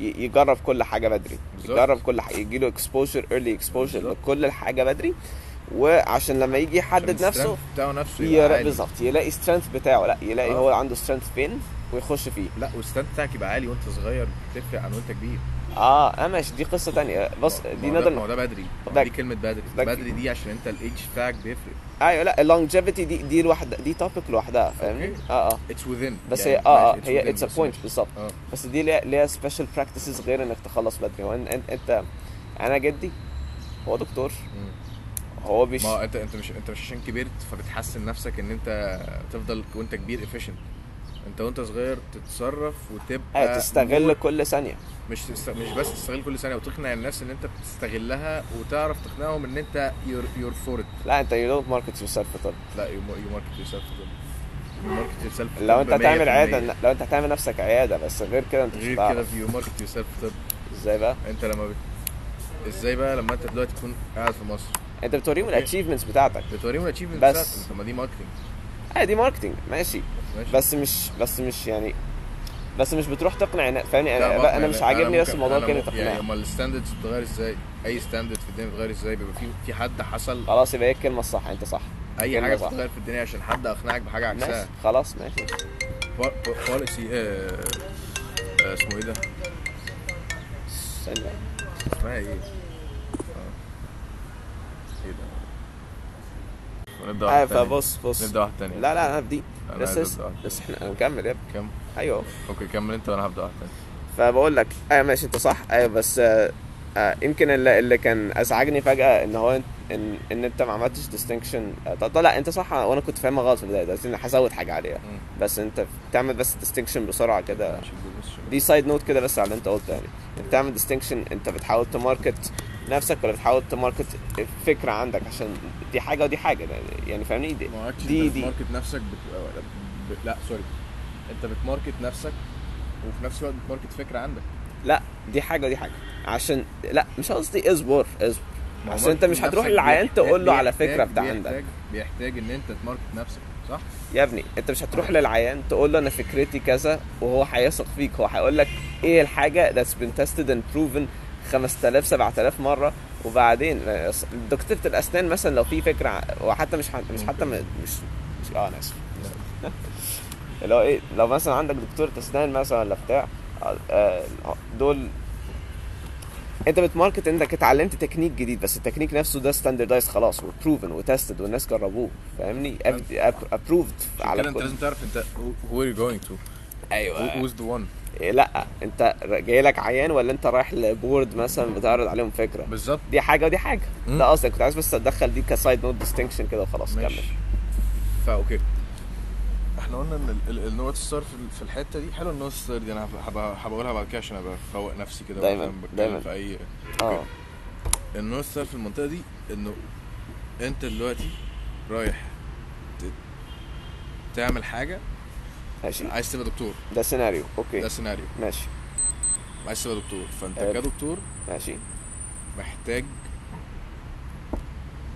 Speaker 2: ي- يجرب كل حاجه بدري
Speaker 1: بالظبط.
Speaker 2: يجرب كل حاجه يجيله اكسبوجر ايرلي اكسبوجر
Speaker 1: بالظبط.
Speaker 2: لكل الحاجه بدري وعشان لما
Speaker 1: عشان
Speaker 2: يجي يحدد نفسه
Speaker 1: الstrength بتاعه نفسه يبقى
Speaker 2: يرا-
Speaker 1: عالي
Speaker 2: بالظبط يلاقي سترينث بتاعه لا يلاقي
Speaker 1: آه.
Speaker 2: هو عنده سترينث فين ويخش فيه
Speaker 1: لا والستاند بتاعك يبقى عالي وانت صغير تفرق عن وانت كبير
Speaker 2: اه اه ماشي دي قصه تانية بص
Speaker 1: ما-
Speaker 2: دي
Speaker 1: آه، ما هو ده-
Speaker 2: نقدر
Speaker 1: ما هو ده بدري ما هو
Speaker 2: ده-
Speaker 1: دي كلمه بدري
Speaker 2: ده-
Speaker 1: بدري دي عشان انت الايدج بتاعك بيفرق
Speaker 2: ايوه لا اللونجيفيتي دي دي لوحدها دي توبيك لوحدها فاهمني
Speaker 1: أوكي. يعني
Speaker 2: اه اه
Speaker 1: اتس وذين
Speaker 2: بس هي اه اه هي اتس
Speaker 1: اتس
Speaker 2: ا بوينت بالظبط
Speaker 1: اه
Speaker 2: بس دي ليها ليها سبيشال براكتسز غير انك تخلص بدري وان انت, انت انا جدي هو دكتور
Speaker 1: مم.
Speaker 2: هو بيش
Speaker 1: ما هو انت انت مش انت مش عشان كبرت فبتحسن نفسك ان انت تفضل وانت كبير efficient انت وانت صغير تتصرف
Speaker 2: ايوه
Speaker 1: وتبقى
Speaker 2: تستغل كل ثانيه
Speaker 1: مش تست... مش بس تستغل كل ثانيه وتقنع الناس ان انت بتستغلها وتعرف تقنعهم ان انت يور يور فور ات
Speaker 2: لا انت يو دونت ماركت يور سيلف
Speaker 1: لا يو ماركت يور سيلف ماركت يور سيلف
Speaker 2: لو انت هتعمل عياده لو انت هتعمل نفسك عياده بس غير كده انت مش
Speaker 1: غير كده
Speaker 2: هتعرف
Speaker 1: في يو ماركت يور سيلف طب
Speaker 2: ازاي بقى
Speaker 1: انت لما بت... ازاي بقى لما انت دلوقتي تكون قاعد في مصر
Speaker 2: انت بتوريهم
Speaker 1: أوكي.
Speaker 2: الاتشيفمنتس بتاعتك
Speaker 1: بتوريهم الاتشيفمنت
Speaker 2: بس.
Speaker 1: بتاعتك طب ما دي ماركتنج
Speaker 2: اه دي ماركتنج ماشي
Speaker 1: ماشي
Speaker 2: بس مش بس مش يعني بس مش بتروح تقنع الناس فاهمني
Speaker 1: لا،
Speaker 2: انا
Speaker 1: بقى-
Speaker 2: لا انا مش عاجبني بس
Speaker 1: ممكن-
Speaker 2: الموضوع
Speaker 1: أنا
Speaker 2: كلمه
Speaker 1: ممكن- يعني
Speaker 2: تقنع
Speaker 1: امال الستاندردز بتتغير ازاي؟ اي ستاندرد في الدنيا بتتغير ازاي؟ بيبقى في في حد حصل
Speaker 2: خلاص يبقى هي الكلمه الصح انت صح
Speaker 1: اي
Speaker 2: كلمة
Speaker 1: حاجه
Speaker 2: صح.
Speaker 1: بتتغير في الدنيا عشان حد اقنعك بحاجه عكسها
Speaker 2: ماشي خلاص ماشي
Speaker 1: بوليسي آه، اسمه ايه ده؟
Speaker 2: استنى.
Speaker 1: اسمها ايه؟ آه. ايه ده؟ نبدا
Speaker 2: اه
Speaker 1: واحد تاني
Speaker 2: فبص بص
Speaker 1: نبدا واحد تاني
Speaker 2: لا لا انا بدي
Speaker 1: أنا
Speaker 2: لسه
Speaker 1: عايز
Speaker 2: لسه
Speaker 1: أبدأ.
Speaker 2: لسه احنا هنكمل يا ابني
Speaker 1: كم؟
Speaker 2: ايوه
Speaker 1: اوكي كمل انت وانا هبدا واحد تاني
Speaker 2: فبقول لك ايوه ماشي انت صح ايوه بس آه، آه، يمكن اللي, اللي كان ازعجني فجاه ان هو إن- ان ان انت ما عملتش ديستنكشن لا انت صح وانا كنت فاهمها غلط في البدايه دلوقتي انا هزود حاجه عليها
Speaker 1: مم.
Speaker 2: بس انت بتعمل بس ديستنكشن بسرعه كده
Speaker 1: ماشي، بص شوية.
Speaker 2: دي سايد نوت كده بس على اللي انت قلته يعني انت بتعمل ديستنكشن انت بتحاول تماركت نفسك ولا بتحاول تماركت الفكره عندك عشان دي حاجه ودي حاجه ده- يعني فاهمني دي
Speaker 1: ما هو actually
Speaker 2: دي,
Speaker 1: انت
Speaker 2: دي.
Speaker 1: بتماركت نفسك بت... أو- ب... لا سوري انت بتماركت نفسك وفي نفس الوقت بتماركت فكره عندك
Speaker 2: لا دي حاجه ودي حاجه عشان لا مش قصدي اصبر اصبر
Speaker 1: ما هو
Speaker 2: عشان انت
Speaker 1: marketing
Speaker 2: مش هتروح
Speaker 1: نفسك
Speaker 2: للعيان
Speaker 1: بيحتاج-
Speaker 2: تقول له على
Speaker 1: بيحتاج-
Speaker 2: فكره بتاع
Speaker 1: بيحتاج-
Speaker 2: عندك
Speaker 1: بيحتاج ان انت تماركت نفسك صح؟
Speaker 2: يا ابني انت مش هتروح للعيان تقول له انا فكرتي كذا وهو هيثق فيك هو هيقول لك ايه الحاجه that's been tested and proven 5000 7000 مره وبعدين آه، دكتوره الاسنان مثلا لو في فكره ع- وحتى مش ح- مش حتى م- مش مش اه انا اسف اللي هو ايه لو مثلا عندك دكتوره اسنان مثلا ولا بتاع اه، اه، دول انت بتماركت انك اتعلمت تكنيك جديد بس التكنيك نفسه ده ستاندردايز خلاص وبروفن وتستد والناس جربوه فاهمني ابروفد
Speaker 1: عشان كده
Speaker 2: على
Speaker 1: انت
Speaker 2: كل
Speaker 1: لازم أيوة. تعرف انت who- who are you going to
Speaker 2: ايوه
Speaker 1: who's the one
Speaker 2: إيه، لا انت جاي لك عيان ولا انت رايح لبورد مثلا بتعرض عليهم فكره
Speaker 1: بالظبط
Speaker 2: دي حاجه ودي حاجه
Speaker 1: مم.
Speaker 2: ده قصدك كنت عايز بس اتدخل دي كسايد نوت ديستنكشن كده وخلاص كمل
Speaker 1: ماشي فا اوكي احنا قلنا ان ال- ال- النقط الصار في- في الحته دي حلو النقط الصار دي انا هبقى- هبقى هقولها بعد كده عشان ابقى فوق نفسي كده
Speaker 2: دايما،
Speaker 1: وأنا بتكلم
Speaker 2: دايما.
Speaker 1: في اي
Speaker 2: اه
Speaker 1: النقط الصار في المنطقه دي انه انت دلوقتي رايح ت- تعمل حاجه
Speaker 2: ماشي
Speaker 1: عايز تبقى دكتور
Speaker 2: ده سيناريو
Speaker 1: ده
Speaker 2: اوكي
Speaker 1: سيناريو
Speaker 2: ماشي
Speaker 1: عايز تبقى دكتور فانت
Speaker 2: إيه. حلو.
Speaker 1: كدكتور
Speaker 2: ماشي
Speaker 1: محتاج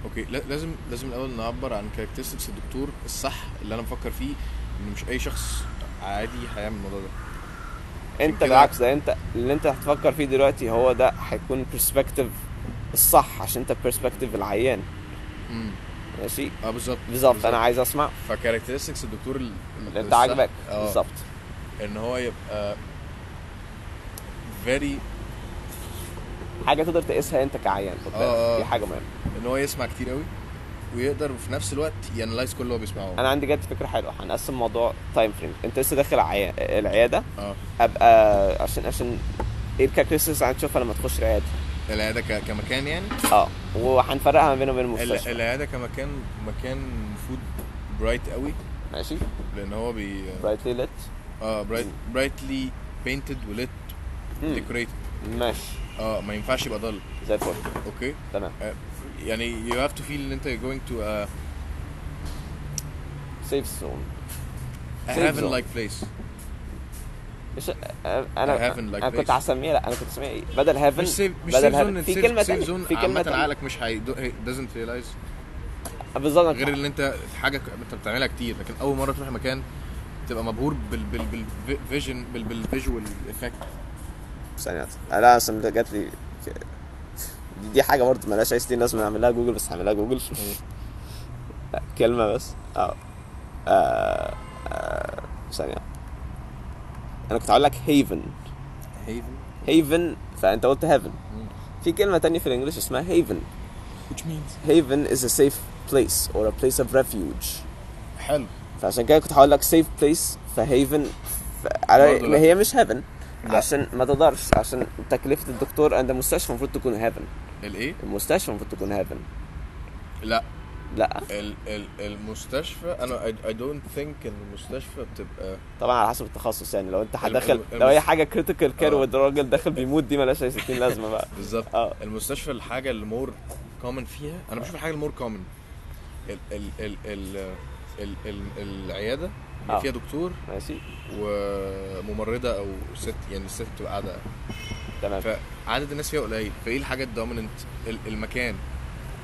Speaker 1: اوكي لا- لازم لازم الاول نعبر عن كاركترستكس الدكتور الصح اللي انا بفكر فيه ان مش اي شخص عادي هيعمل الموضوع ده
Speaker 2: انت
Speaker 1: كده-
Speaker 2: بالعكس ده انت اللي انت هتفكر فيه دلوقتي هو ده هيكون برسبكتيف الصح عشان انت برسبكتيف العيان
Speaker 1: امم
Speaker 2: ماشي
Speaker 1: اه بالظبط
Speaker 2: بالظبط انا عايز اسمع
Speaker 1: فكاركترستكس الدكتور ال-
Speaker 2: اللي انت
Speaker 1: الصح-
Speaker 2: عاجبك
Speaker 1: آه،
Speaker 2: بالظبط
Speaker 1: ان هو يبقى very
Speaker 2: حاجه تقدر تقيسها انت كعيان خد بالك.
Speaker 1: اه، اه.
Speaker 2: دي حاجه مهمه
Speaker 1: ان هو يسمع كتير قوي ويقدر في نفس الوقت يانلايز كل اللي هو بيسمعه
Speaker 2: انا عندي جت فكره حلوه هنقسم موضوع تايم فريم انت لسه داخل عيا- العياده
Speaker 1: اه
Speaker 2: ابقى عشان عشان ايه الكاركترستكس هنشوفها لما تخش العياده
Speaker 1: العياده ك- كمكان يعني
Speaker 2: اه وهنفرقها ما بينه وبين
Speaker 1: ال-
Speaker 2: المستشفى
Speaker 1: العياده كمكان مكان المفروض برايت قوي
Speaker 2: ماشي
Speaker 1: لان هو بي
Speaker 2: برايتلي ليت
Speaker 1: اه برايت برايتلي بينتد وليت
Speaker 2: مم.
Speaker 1: ديكوريتد
Speaker 2: ماشي
Speaker 1: اه آه، ما ينفعش يبقى ضل
Speaker 2: زي الفل
Speaker 1: اوكي
Speaker 2: تمام
Speaker 1: آه، يعني you have to feel ان انت you're going to a,
Speaker 2: سيف زون
Speaker 1: a
Speaker 2: Safe
Speaker 1: heaven like place
Speaker 2: مش انا انا
Speaker 1: heaven like
Speaker 2: انا كنت
Speaker 1: place.
Speaker 2: هسميها لا انا كنت هسميها ايه بدل هيفن
Speaker 1: مش سيف مش
Speaker 2: بدل
Speaker 1: سيف
Speaker 2: هيفن
Speaker 1: زون
Speaker 2: في كلمه
Speaker 1: سيف
Speaker 2: تانية-
Speaker 1: زون
Speaker 2: في كلمه
Speaker 1: عامة
Speaker 2: تانية.
Speaker 1: عقلك مش هي doesn't realize
Speaker 2: بالظبط
Speaker 1: غير اللي انت حاجه ك- انت بتعملها كتير لكن اول مره تروح مكان تبقى مبهور بال بال بالفيجن بال بالفيجوال افكت
Speaker 2: ثانية واحدة. لا اصل ده جات لي دي حاجة برضه ملهاش عايز الناس بنعملها جوجل بس هعملها جوجل لا، كلمة بس اه آه، آه، ثانية انا كنت هقول لك هيفن
Speaker 1: هيفن
Speaker 2: هيفن فانت قلت هيفن في كلمة تانية في الانجليش اسمها هيفن
Speaker 1: which means
Speaker 2: هيفن is a safe place or a place of refuge
Speaker 1: حلو
Speaker 2: فعشان كده كنت هقول لك سيف بليس فهيفن ف... على
Speaker 1: برضه
Speaker 2: ما
Speaker 1: لا.
Speaker 2: هي مش هيفن
Speaker 1: لا.
Speaker 2: عشان ما تقدرش عشان تكلفة الدكتور عند المستشفى المفروض تكون هيفن
Speaker 1: الايه
Speaker 2: المستشفى المفروض تكون هيفن
Speaker 1: لا
Speaker 2: لا
Speaker 1: ال ال المستشفى انا I, I don't think ان المستشفى بتبقى
Speaker 2: طبعا على حسب التخصص يعني لو انت
Speaker 1: الم-
Speaker 2: هداخل
Speaker 1: الم-
Speaker 2: لو هي حاجه كريتيكال كير
Speaker 1: آه.
Speaker 2: والراجل داخل بيموت دي مالهاش اي 60 لازمه بقى
Speaker 1: بالظبط
Speaker 2: اه.
Speaker 1: المستشفى الحاجه اللي مور كومن فيها انا بشوف الحاجه المور كومن ال ال ال ال ال ال العياده
Speaker 2: اه.
Speaker 1: اللي فيها دكتور
Speaker 2: ماشي
Speaker 1: وممرضه او ست يعني الست بتبقى قاعده
Speaker 2: تمام
Speaker 1: فعدد الناس فيها قليل فايه الحاجه الدوميننت المكان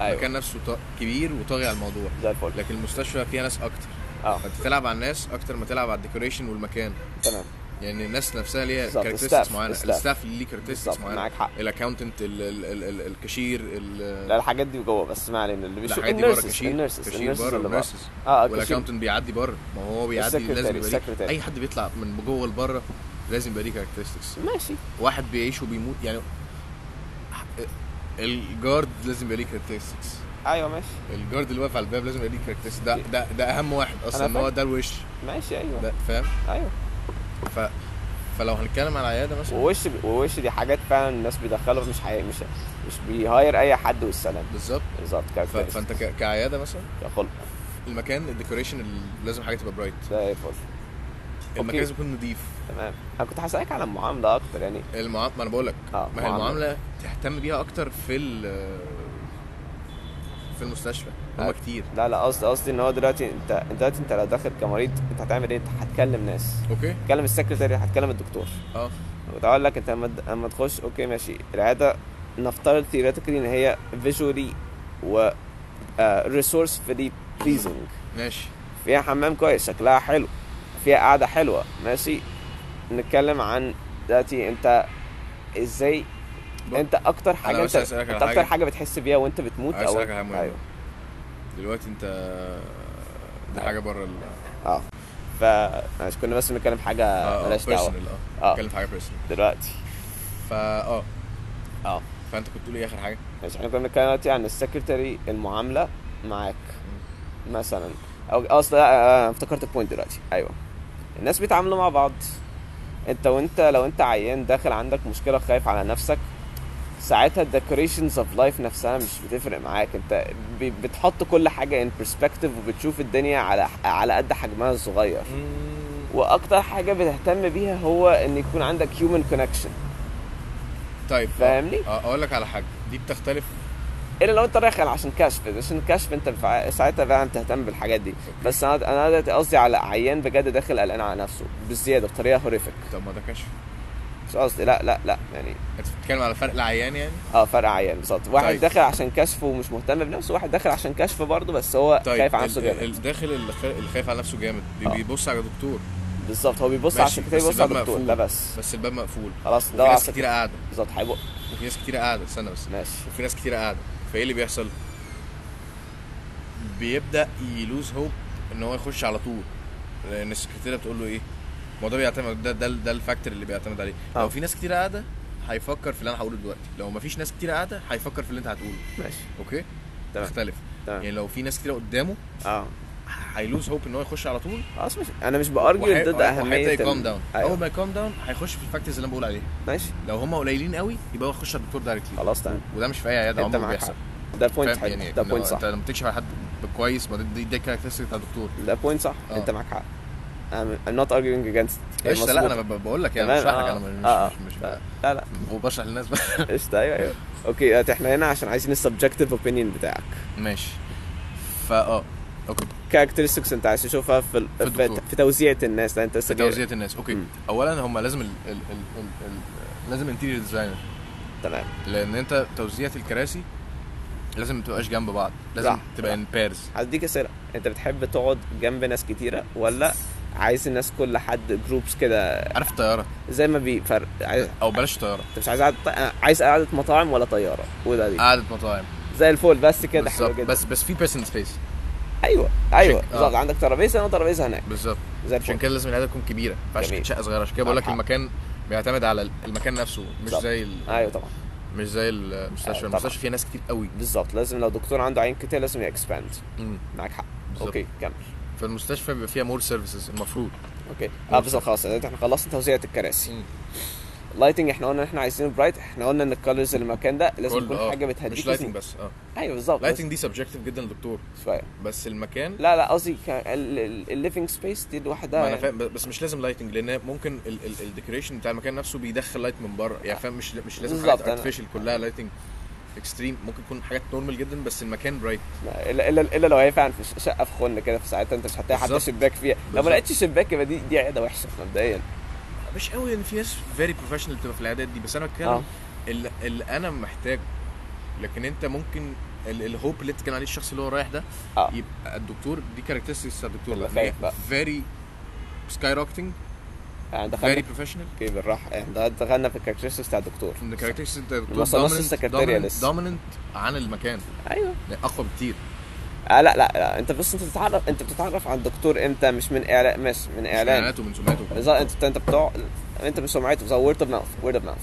Speaker 2: ايوه
Speaker 1: المكان نفسه طا- كبير وطاغي على الموضوع
Speaker 2: زي الفل
Speaker 1: لكن المستشفى فيها ناس اكتر
Speaker 2: اه
Speaker 1: فانت تلعب على الناس اكتر ما تلعب على الديكوريشن والمكان
Speaker 2: تمام
Speaker 1: يعني الناس نفسها ليها
Speaker 2: بالظبط،
Speaker 1: كاركترستكس
Speaker 2: الستاف-
Speaker 1: معينه
Speaker 2: الستاف.
Speaker 1: الستاف اللي ليه كاركترستكس
Speaker 2: بالظبط،
Speaker 1: معينه
Speaker 2: معاك حق.
Speaker 1: الاكونتنت ال- ال- ال- ال- الكاشير ال-
Speaker 2: لا الحاجات دي جوه بس ما علينا اللي بيشوف
Speaker 1: الحاجات دي بره
Speaker 2: النيرسز
Speaker 1: كاشير
Speaker 2: النيرسز
Speaker 1: كاشير
Speaker 2: النيرسز
Speaker 1: بره
Speaker 2: اللي بره
Speaker 1: nurses.
Speaker 2: اه كاشير
Speaker 1: والاكونتنت بيعدي بره ما هو بيعدي
Speaker 2: السكرتاري-
Speaker 1: لازم يبقى ليه
Speaker 2: السكرتاري.
Speaker 1: اي حد بيطلع من جوه لبره لازم يبقى ليه كاركترستكس
Speaker 2: ماشي
Speaker 1: واحد بيعيش وبيموت يعني الجارد لازم يبقى ليه كاركترستكس
Speaker 2: ايوه ماشي
Speaker 1: الجارد اللي واقف على الباب لازم يبقى ليه كاركترستكس ده ده ده اهم واحد اصلا
Speaker 2: أنا
Speaker 1: ان هو
Speaker 2: فاهم.
Speaker 1: ده الوش
Speaker 2: ماشي ايوه
Speaker 1: ده فاهم
Speaker 2: ايوه
Speaker 1: ف فلو هنتكلم على العياده مثلا
Speaker 2: ووش ووش دي حاجات فعلا الناس بيدخلها مش حقيقي مش مش بيهاير اي حد والسلام
Speaker 1: بالظبط
Speaker 2: بالظبط
Speaker 1: ف- فانت ك- كعياده مثلا
Speaker 2: كخلق
Speaker 1: المكان الديكوريشن ال- لازم حاجه تبقى برايت
Speaker 2: زي الفل
Speaker 1: المكان لازم يكون نضيف
Speaker 2: تمام انا كنت هسالك على المعامله اكتر يعني
Speaker 1: المعام... ما انا بقول لك
Speaker 2: آه،
Speaker 1: ما هي
Speaker 2: معاملة.
Speaker 1: المعامله تهتم بيها اكتر في ال في المستشفى هم
Speaker 2: آه.
Speaker 1: كتير
Speaker 2: لا لا قصدي قصدي ان هو دلوقتي انت انت دلوقتي انت لو داخل كمريض انت هتعمل ايه؟ انت هتكلم ناس
Speaker 1: اوكي
Speaker 2: هتكلم السكرتيري هتكلم الدكتور
Speaker 1: اه
Speaker 2: كنت هقول لك انت لما تد- لما تخش اوكي ماشي العياده نفترض ثيوريتيكلي ان هي فيجوالي و آه، ريسورسفلي بليزنج
Speaker 1: ماشي
Speaker 2: فيها حمام كويس شكلها حلو فيها قعدة حلوة ماشي نتكلم عن دلوقتي انت ازاي
Speaker 1: بق-
Speaker 2: انت اكتر حاجة
Speaker 1: بس
Speaker 2: انت,
Speaker 1: عايز أسألك
Speaker 2: انت
Speaker 1: على
Speaker 2: اكتر
Speaker 1: حاجة.
Speaker 2: حاجة بتحس بيها وانت بتموت
Speaker 1: عايز
Speaker 2: او
Speaker 1: اسالك على حاجه مهمه
Speaker 2: ايوه
Speaker 1: دلوقتي انت دي
Speaker 2: آه.
Speaker 1: حاجه بره ال
Speaker 2: اه ف ماشي، كنا بس بنتكلم في حاجة
Speaker 1: اه
Speaker 2: مالهاش آه، دعوة
Speaker 1: بيرسونال اه
Speaker 2: آه.
Speaker 1: اتكلم في حاجه بيرسونال
Speaker 2: دلوقتي
Speaker 1: فا اه
Speaker 2: اه
Speaker 1: فانت كنت بتقول ايه اخر حاجه؟
Speaker 2: ماشي احنا كنا بنتكلم دلوقتي عن السكرتري المعاملة معاك مثلا او اصلا لا، آه، آه، افتكرت البوينت دلوقتي ايوه الناس بيتعاملوا مع بعض انت وانت لو انت عيان داخل عندك مشكله خايف على نفسك ساعتها الديكوريشنز اوف لايف نفسها مش بتفرق معاك انت ب- بتحط كل حاجه ان برسبكتيف وبتشوف الدنيا على على قد حجمها الصغير واكتر حاجه بتهتم بيها هو ان يكون عندك هيومن كونكشن
Speaker 1: طيب آه،
Speaker 2: فاهمني؟
Speaker 1: اه اقول لك على حاجه دي بتختلف
Speaker 2: الا لو انت رايح عشان كشف عشان كشف انت فع- ساعتها فعلا تهتم بالحاجات دي بس انا انا دلوقتي قصدي على عيان بجد داخل قلقان على نفسه بالزياده بطريقه هوريفك
Speaker 1: طب ما ده كشف
Speaker 2: مش قصدي لا لا لا يعني
Speaker 1: انت بتتكلم على فرق العيان يعني
Speaker 2: اه فرق عيان بالظبط واحد
Speaker 1: طيب.
Speaker 2: داخل عشان كشف ومش مهتم بنفسه واحد داخل عشان كشف برضه بس هو
Speaker 1: طيب
Speaker 2: خايف على نفسه
Speaker 1: ال-
Speaker 2: جامد
Speaker 1: ال- الداخل اللي خا- اللي خايف على نفسه جامد بي-
Speaker 2: آه.
Speaker 1: بيبص على دكتور
Speaker 2: بالظبط هو بيبص
Speaker 1: ماشي،
Speaker 2: على السكرتير
Speaker 1: بس
Speaker 2: بيبص على
Speaker 1: الباب
Speaker 2: الدكتور
Speaker 1: مقفول.
Speaker 2: ده بس
Speaker 1: بس الباب مقفول
Speaker 2: خلاص
Speaker 1: وفي
Speaker 2: ده
Speaker 1: ناس
Speaker 2: عسك-
Speaker 1: كتير قاعده
Speaker 2: بالظبط هيبقى
Speaker 1: وفي ناس كتير قاعده استنى بس
Speaker 2: ماشي
Speaker 1: وفي ناس كتير قاعده فايه اللي بيحصل؟ بيبدا يلوز هوب ان هو يخش على طول لان السكرتيره بتقول له ايه؟ ما هو ده بيعتمد ده ده, ده الفاكتور اللي بيعتمد عليه
Speaker 2: آه.
Speaker 1: لو في ناس كتير قاعده هيفكر في اللي انا هقوله دلوقتي لو ما فيش ناس كتير قاعده هيفكر في اللي انت هتقوله
Speaker 2: ماشي
Speaker 1: اوكي؟
Speaker 2: تمام.
Speaker 1: تختلف
Speaker 2: تمام.
Speaker 1: يعني لو في ناس كتير قدامه
Speaker 2: اه
Speaker 1: هيلوز هوب ان هو يخش على طول
Speaker 2: خلاص مش انا مش بارجيو ضد اهميه ال-
Speaker 1: كام داون اول
Speaker 2: ايوه
Speaker 1: ما يكام داون هيخش في الفاكتورز اللي انا بقول عليها
Speaker 2: ماشي
Speaker 1: لو هم قليلين قوي يبقى هو يخش على الدكتور دايركتلي
Speaker 2: خلاص تمام
Speaker 1: وده مش في اي عياده
Speaker 2: انت
Speaker 1: عمره ما
Speaker 2: معاك
Speaker 1: بيحصل
Speaker 2: حق. ده بوينت
Speaker 1: فاهم
Speaker 2: حلو
Speaker 1: يعني
Speaker 2: ده
Speaker 1: إن هو
Speaker 2: بوينت صح
Speaker 1: انت لما تكشف على حد كويس ما دي دي كاركترستيك بتاع الدكتور
Speaker 2: ده بوينت صح
Speaker 1: آه.
Speaker 2: انت معاك حق I'm, I'm not arguing against it.
Speaker 1: قشطه لا انا
Speaker 2: مظبوطة.
Speaker 1: ب- بقول لك يعني
Speaker 2: إيه، تمام،
Speaker 1: مش رايح
Speaker 2: آه،
Speaker 1: انا مش
Speaker 2: آه،
Speaker 1: مش مش,
Speaker 2: لا
Speaker 1: مش
Speaker 2: لا لا،
Speaker 1: وبشرح للناس بقى
Speaker 2: قشطه ايوه ايوه اوكي آه، احنا هنا عشان عايزين السبجكتيف اوبينيون بتاعك
Speaker 1: ماشي فا اه اوكي
Speaker 2: كاركترستكس انت عايز تشوفها في ال-
Speaker 1: في
Speaker 2: في,
Speaker 1: الدكتور.
Speaker 2: في توزيعه الناس لا انت لسه جاي-
Speaker 1: توزيعة الناس اوكي
Speaker 2: مم.
Speaker 1: اولا هم لازم ال ال ال ال ال لازم انتيريور ديزاينر
Speaker 2: تمام
Speaker 1: لان انت توزيعة الكراسي لازم ما تبقاش جنب بعض لازم
Speaker 2: صح،
Speaker 1: تبقى
Speaker 2: صح.
Speaker 1: ان بيرز
Speaker 2: هديك اسئله انت بتحب تقعد جنب ناس كتيره ولا عايز الناس كل حد جروبس كده
Speaker 1: عارف الطياره
Speaker 2: زي ما بيفرق عايز
Speaker 1: او بلاش طياره
Speaker 2: انت مش عايز قعدة آه، عايز قعدة مطاعم ولا طيارة وده دي
Speaker 1: قعده مطاعم
Speaker 2: زي الفول بس كده حلو
Speaker 1: آه. بالظبط
Speaker 2: جدا
Speaker 1: بس بس في بيرسون سبيس
Speaker 2: ايوه ايوه
Speaker 1: شك- آه.
Speaker 2: بالظبط عندك ترابيزة هنا وترابيزة هناك
Speaker 1: بالظبط
Speaker 2: زي
Speaker 1: عشان
Speaker 2: الفول
Speaker 1: كده لازم العياده تكون كبيره ما
Speaker 2: جميل.
Speaker 1: ينفعش شقه صغيره عشان كده بقول لك
Speaker 2: حق.
Speaker 1: المكان بيعتمد على المكان نفسه مش
Speaker 2: صح. آه،
Speaker 1: زي ال-
Speaker 2: ايوه طبعا
Speaker 1: مش زي المستشفى
Speaker 2: طبعا.
Speaker 1: المستشفى فيها ناس كتير قوي
Speaker 2: بالظبط لازم لو دكتور عنده عين كتير لازم يكسباند
Speaker 1: مم.
Speaker 2: معاك حق
Speaker 1: بالظبط.
Speaker 2: اوكي كمل
Speaker 1: فالمستشفى بيبقى فيها مور سيرفيسز المفروض
Speaker 2: اوكي اه بالظبط خلاص احنا خلصنا توزيعة الكراسي لايتنج احنا قلنا ان احنا عايزين برايت احنا قلنا ان الكالرز المكان ده لازم
Speaker 1: كل-
Speaker 2: تكون
Speaker 1: آه.
Speaker 2: حاجة بتهديك
Speaker 1: مش
Speaker 2: لازم-
Speaker 1: لايتنج بس اه
Speaker 2: ايوه بالظبط
Speaker 1: لايتنج دي سبجكتيف جدا للدكتور
Speaker 2: بس- شوية
Speaker 1: بس المكان
Speaker 2: لا لا قصدي الليفنج سبيس دي لوحدها
Speaker 1: ما انا
Speaker 2: يعني.
Speaker 1: فاهم بس مش لازم لايتنج لان ممكن الديكوريشن بتاع المكان نفسه بيدخل لايت من بره يعني فاهم مش مش لازم حاجات
Speaker 2: آه. بالظبط، أنا-
Speaker 1: ارتفيشال كلها لايتنج اكستريم ممكن يكون حاجات نورمال جدا بس المكان برايت
Speaker 2: لا، الا الا الا لو هي فعلا في ش- شقه في خن كده في ساعتها انت مش هتلاقي حتى
Speaker 1: بالظبط.
Speaker 2: شباك فيها لو ما
Speaker 1: بالظبط.
Speaker 2: لقيتش شباك يبقى دي دي عاده وحشه مبدئيا
Speaker 1: مش قوي لان في ناس فيري بروفيشنال بتبقى في العيادات دي بس انا
Speaker 2: آه.
Speaker 1: بتكلم اللي, اللي انا محتاجه لكن انت ممكن ال- الهوب اللي اتكلم عليه الشخص اللي هو رايح ده
Speaker 2: آه.
Speaker 1: يبقى الدكتور دي كاركترستكس بتاع الدكتور
Speaker 2: يبقى
Speaker 1: بقى
Speaker 2: فاهم بقى.
Speaker 1: فيري سكاي روكتنج
Speaker 2: يعني
Speaker 1: فيري
Speaker 2: دخلنا
Speaker 1: بروفيشنال
Speaker 2: اوكي بالراحه احنا دخلنا في الكاركترستكس بتاع الدكتور
Speaker 1: ان الكاركترستكس بتاع الدكتور
Speaker 2: وصلناش للسكرتيريا لسه.
Speaker 1: دوميننت عن المكان
Speaker 2: ايوه
Speaker 1: يعني اقوى بكتير
Speaker 2: آه لا لا لا انت بص انت بتتعرف انت بتتعرف على الدكتور امتى مش من اعلان مش من
Speaker 1: من
Speaker 2: اعلان
Speaker 1: اعلاناته من سمعته
Speaker 2: بالظبط انت انت بتوع انت مش سمعته بالظبط وورد اوف ماوث وورد اوف ماوث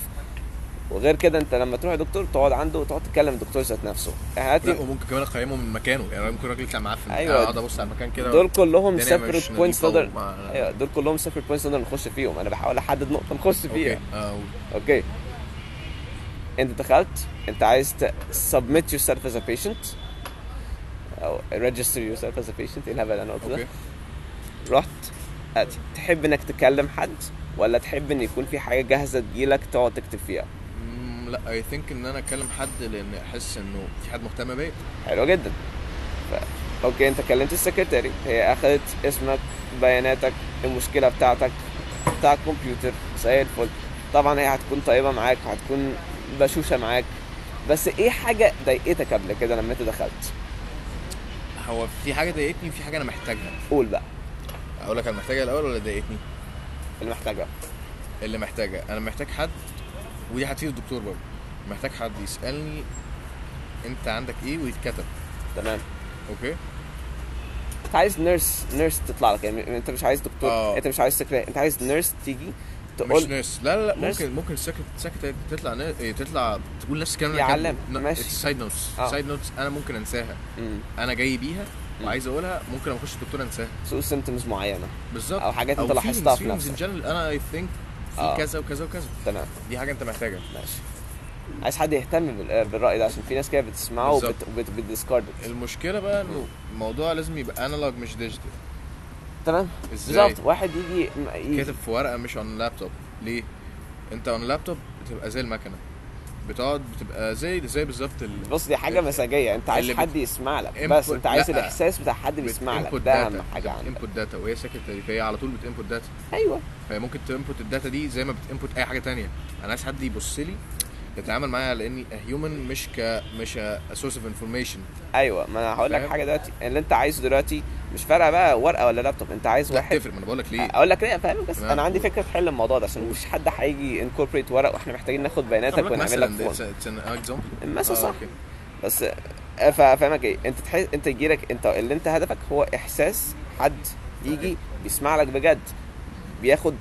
Speaker 2: وغير كده انت لما تروح لدكتور تقعد عنده وتقعد تتكلم الدكتور ذات نفسه يعني
Speaker 1: لا
Speaker 2: دي-
Speaker 1: وممكن كمان اقيمه من مكانه يعني ممكن راجل يطلع معفن
Speaker 2: أيوة.
Speaker 1: اقعد ابص على المكان كده
Speaker 2: دول كلهم
Speaker 1: الدنيا مش
Speaker 2: سيبريت
Speaker 1: نظيفة
Speaker 2: بوينتس نقدر
Speaker 1: وما-
Speaker 2: ايوه دول كلهم سيبريت بوينتس نقدر نخش فيهم انا بحاول احدد نقطه نخش فيها
Speaker 1: اوكي آه،
Speaker 2: اوكي انت دخلت انت عايز ت submit yourself as a patient او register yourself as a patient ايه الهبل اللي انا قلته ده
Speaker 1: اوكي
Speaker 2: رحت أت- تحب انك تكلم حد ولا تحب ان يكون في حاجه جاهزه تجيلك تقعد تكتب فيها
Speaker 1: مم، لا اي ثينك ان انا اكلم حد لان احس انه في حد مهتم بيا
Speaker 2: حلو جدا ف... اوكي انت كلمت السكرتاري هي اخذت اسمك بياناتك المشكله بتاعتك بتاع الكمبيوتر زي الفل طبعا هي هتكون طيبه معاك هتكون بشوشه معاك بس ايه حاجه ضايقتك قبل كده لما انت دخلت
Speaker 1: هو في حاجه ضايقتني وفي حاجه انا محتاجها
Speaker 2: قول بقى
Speaker 1: اقول لك انا محتاجها الاول ولا ضايقتني
Speaker 2: اللي محتاجها
Speaker 1: اللي محتاجها انا محتاج حد ودي هتفيد الدكتور برضه محتاج حد يسالني انت عندك ايه ويتكتب
Speaker 2: تمام
Speaker 1: اوكي
Speaker 2: انت عايز نيرس نيرس تطلع لك يعني انت مش عايز دكتور
Speaker 1: آه.
Speaker 2: انت مش عايز سكرتاري انت عايز نيرس تيجي
Speaker 1: مش
Speaker 2: تقول
Speaker 1: نيرس لا لا لا
Speaker 2: نيرس؟
Speaker 1: ممكن ممكن السكت سكت تطلع نا- إيه، تطلع تقول نفس الكلام
Speaker 2: يا علام، ماشي.
Speaker 1: سايد نوتس
Speaker 2: آه.
Speaker 1: سايد نوتس انا ممكن انساها
Speaker 2: مم.
Speaker 1: انا جاي بيها وعايز اقولها ممكن لما اخش الدكتور انساها
Speaker 2: سوء symptoms معينه
Speaker 1: بالظبط
Speaker 2: أو حاجات أنت لاحظتها في
Speaker 1: feelings in
Speaker 2: نفسك.
Speaker 1: general. انا اي ثينك
Speaker 2: آه.
Speaker 1: في كذا وكذا وكذا
Speaker 2: تمام
Speaker 1: دي حاجه انت محتاجها
Speaker 2: ماشي عايز حد يهتم بال- بالرأي ده عشان في ناس كده بتسمعه
Speaker 1: بالظبط.
Speaker 2: وبتديسكارد
Speaker 1: المشكله بقى انه الموضوع لازم يبقى انالوج مش ديجيتال
Speaker 2: تمام
Speaker 1: ازاي؟
Speaker 2: بالظبط واحد يجي م- يجي-
Speaker 1: كاتب في ورقه مش اون لابتوب ليه انت اون لابتوب بتبقى زي المكنه بتقعد بتبقى زي زي بالظبط ال...
Speaker 2: بص دي حاجه مزاجيه انت عايز
Speaker 1: اللي بت-
Speaker 2: حاج حد يسمع لك بس
Speaker 1: input-
Speaker 2: انت عايز
Speaker 1: لأ.
Speaker 2: الاحساس بتاع حد بيسمع لك
Speaker 1: input
Speaker 2: ده
Speaker 1: data.
Speaker 2: اهم حاجه عندك
Speaker 1: انبوت داتا وهي سكرتاري فهي على طول بتنبوت داتا
Speaker 2: ايوه
Speaker 1: فهي ممكن تنبوت الداتا دي زي ما بتنبوت اي حاجه تانية انا عايز حد يبص لي يتعامل معايا على اني هيومن مش ك مش سورس اوف انفورميشن
Speaker 2: ايوه ما انا هقول لك
Speaker 1: فاهم؟
Speaker 2: حاجه دلوقتي اللي انت عايزه دلوقتي مش فارقه بقى ورقه ولا لابتوب انت عايز
Speaker 1: لا
Speaker 2: واحد
Speaker 1: تفرق ما انا بقول لك ليه
Speaker 2: اقول لك ليه فاهمك بس
Speaker 1: تمام،
Speaker 2: انا عندي
Speaker 1: قول.
Speaker 2: فكره تحل الموضوع ده عشان مفيش حد هيجي انكوربريت ورق واحنا محتاجين ناخد
Speaker 1: أقول
Speaker 2: بياناتك ونعمل لك
Speaker 1: مثلا
Speaker 2: فورم
Speaker 1: it's a- it's an example.
Speaker 2: مثلا
Speaker 1: آه،
Speaker 2: صح.
Speaker 1: أوكي.
Speaker 2: بس آه، فا- فاهمك ايه انت تحس انت يجيلك انت اللي انت هدفك هو احساس حد يجي بيسمع لك بجد بياخد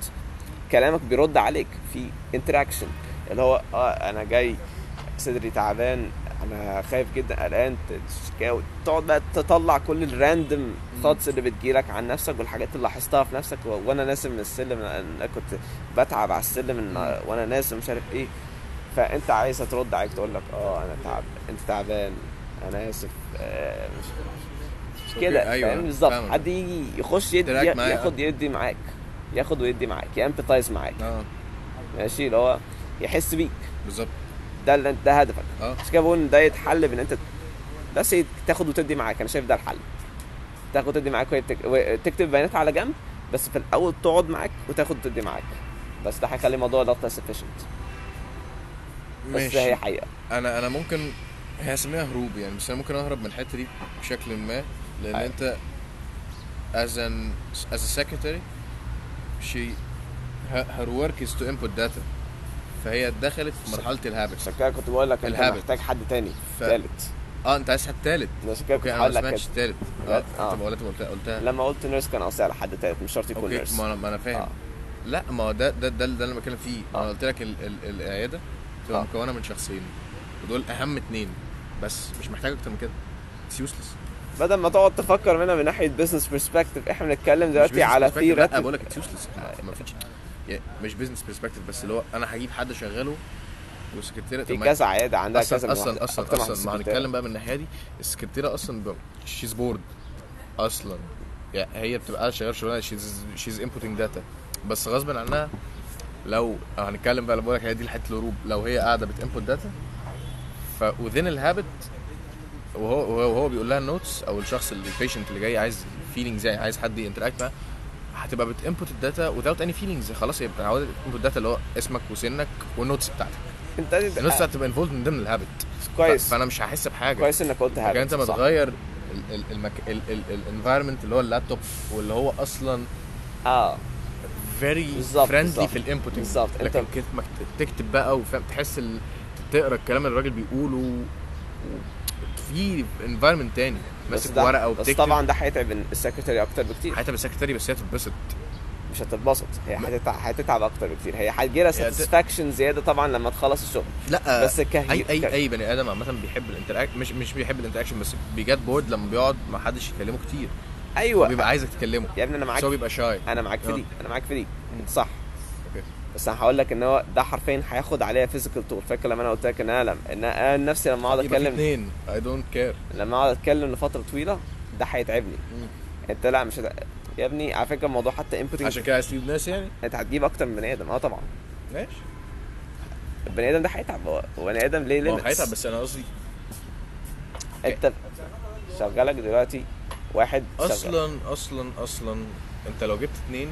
Speaker 2: كلامك بيرد عليك في انتراكشن اللي هو اه انا جاي صدري تعبان انا خايف جدا قلقان تشكاوي تقعد بقى تطلع كل الراندم ثوتس اللي بتجيلك عن نفسك والحاجات اللي لاحظتها في نفسك و- وانا نازل من السلم انا كنت بتعب على السلم إن- وانا نازل مش عارف ايه فانت عايزه ترد عليك تقول لك اه انا تعب انت تعبان انا اسف آه، مش
Speaker 1: أوكي،
Speaker 2: كده
Speaker 1: أيوة،
Speaker 2: فاهم بالظبط
Speaker 1: فاهمك.
Speaker 2: حد يجي يخش يدي
Speaker 1: تراك معايا.
Speaker 2: ياخد يدي معاك ياخد ويدي معاك يامبتايز معاك
Speaker 1: اه
Speaker 2: ماشي اللي هو يحس بيك
Speaker 1: بالظبط
Speaker 2: ده اللي ده هدفك
Speaker 1: اه
Speaker 2: عشان كده بقول ان ده يتحل بان انت بس يت- تاخد وتدي معاك انا شايف ده الحل تاخد وتدي معاك وهي بتك- و- تكتب بيانات على جنب بس في الاول تقعد معاك وتاخد وتدي معاك بس ده هيخلي الموضوع لوت سفيشنت بس
Speaker 1: ماشي
Speaker 2: هي حقيقه
Speaker 1: انا انا ممكن هي هسميها هروب يعني بس انا ممكن اهرب من الحته دي بشكل ما لان
Speaker 2: أيوة.
Speaker 1: انت as an as a secretary she her, her work is to input data فهي دخلت في مرحله الهابت
Speaker 2: عشان كده كنت بقول لك انت
Speaker 1: الهابت.
Speaker 2: محتاج حد تاني
Speaker 1: ف-
Speaker 2: ثالث
Speaker 1: اه انت عايز حد تالت
Speaker 2: عشان كده كنت
Speaker 1: اوكي انا ما
Speaker 2: هقول لك
Speaker 1: سمعتش التالت اه
Speaker 2: آه.
Speaker 1: طب ولا انت قلتها قلتها
Speaker 2: لما قلت نيرس كان قصدي على حد تالت مش شرط يكون
Speaker 1: اوكي
Speaker 2: نيرس
Speaker 1: ما انا ما انا فاهم
Speaker 2: آه.
Speaker 1: لا ما هو ده ده ده, ده اللي انا بتكلم فيه ما
Speaker 2: آه.
Speaker 1: انا قلت لك ال ال العياده تبقى
Speaker 2: آه.
Speaker 1: مكونه من شخصين ودول اهم اتنين بس مش محتاج اكتر من كده It's useless
Speaker 2: بدل ما تقعد تفكر منها من ناحيه بزنس برسبكتيف احنا بنتكلم دلوقتي
Speaker 1: مش business
Speaker 2: على
Speaker 1: perspective،
Speaker 2: في
Speaker 1: لا
Speaker 2: راتب
Speaker 1: بقول لك اتس يوسلس ما فيش آه، يعني مش بزنس برسبكتيف بس اللي هو انا هجيب حد شغاله وسكرتيره
Speaker 2: في كذا عياده عندها
Speaker 1: اصلا
Speaker 2: كذا من
Speaker 1: اصلا اصلا
Speaker 2: واحدة. أكتر من
Speaker 1: اصلا, ما
Speaker 2: واحدة
Speaker 1: هنتكلم بقى من الناحيه دي السكرتيره اصلا شيز بورد اصلا يعني هي بتبقى شغاله شغلانه شيز شيز انبوتنج داتا بس غصب عنها لو أو هنتكلم بقى بقول لك هي دي حته الهروب لو هي قاعده بتنبوت داتا ف within الهابت وهو وهو وهو بيقول لها النوتس او الشخص اللي البيشنت اللي جاي عايز فيلينجز يعني عايز حد ينتراكت معاه هتبقى بتنبوت الداتا without any feelings خلاص يبقى عودة input data اللي هو اسمك وسنك والنوتس بتاعتك
Speaker 2: أنت-
Speaker 1: النوتس هتبقى انفولد من ضمن الهابت
Speaker 2: آه، كويس
Speaker 1: فانا مش هحس بحاجه
Speaker 2: كويس انك قلت
Speaker 1: لكن
Speaker 2: هذا
Speaker 1: انت ما تغير الانفايرمنت اللي هو اللابتوب واللي هو اصلا
Speaker 2: اه
Speaker 1: فيري
Speaker 2: بالظبط،
Speaker 1: فريندلي
Speaker 2: بالظبط،
Speaker 1: في الانبوت
Speaker 2: بالظبط، انت-
Speaker 1: لكن كده ما ت- تكتب بقى وفاهم تحس ال... تقرا الكلام اللي الراجل بيقوله و- في انفايرمنت تاني
Speaker 2: بس
Speaker 1: ماسك
Speaker 2: ده
Speaker 1: ورقه
Speaker 2: بس
Speaker 1: وبتكتب
Speaker 2: طبعا ده هيتعب السكرتري اكتر بكتير
Speaker 1: حتى بالسكرتري بس هي تتبسط
Speaker 2: مش هتتبسط هي هتتعب هتتعب اكتر بكتير هي هتجيلها
Speaker 1: هي هت-
Speaker 2: ساتسفاكشن زياده طبعا لما تخلص الشغل
Speaker 1: لا
Speaker 2: بس كهي
Speaker 1: اي اي
Speaker 2: ك-
Speaker 1: اي بني ادم عامه بيحب الانتراكشن مش مش بيحب الانتراكشن بس بيجات بورد لما بيقعد ما حدش يكلمه كتير
Speaker 2: ايوه
Speaker 1: بيبقى عايزك تكلمه
Speaker 2: يا ابني انا معاك
Speaker 1: بس هو بيبقى شاي
Speaker 2: انا معاك في
Speaker 1: آه.
Speaker 2: دي انا معاك في دي انت صح
Speaker 1: اوكي
Speaker 2: بس انا هقول لك ان هو ده حرفيا هياخد عليها فيزيكال تور فاكر لما انا قلت لك ان انا لم- ان انا نفسي لما اقعد
Speaker 1: يبقى في
Speaker 2: اتكلم
Speaker 1: اتنين اي دونت كير
Speaker 2: لما اقعد اتكلم لفتره طويله ده هيتعبني انت لا مش هت... يا ابني على فكره الموضوع حتى انبوتنج
Speaker 1: عشان كده عايز تجيب ناس يعني
Speaker 2: انت هتجيب اكتر من بني ادم اه طبعا
Speaker 1: ماشي
Speaker 2: البني ادم ده هيتعب هو هو بني ادم ليه
Speaker 1: ما هو
Speaker 2: limits.
Speaker 1: هيتعب بس انا قصدي
Speaker 2: انت شغالك دلوقتي واحد شغال.
Speaker 1: اصلا اصلا اصلا انت لو جبت اتنين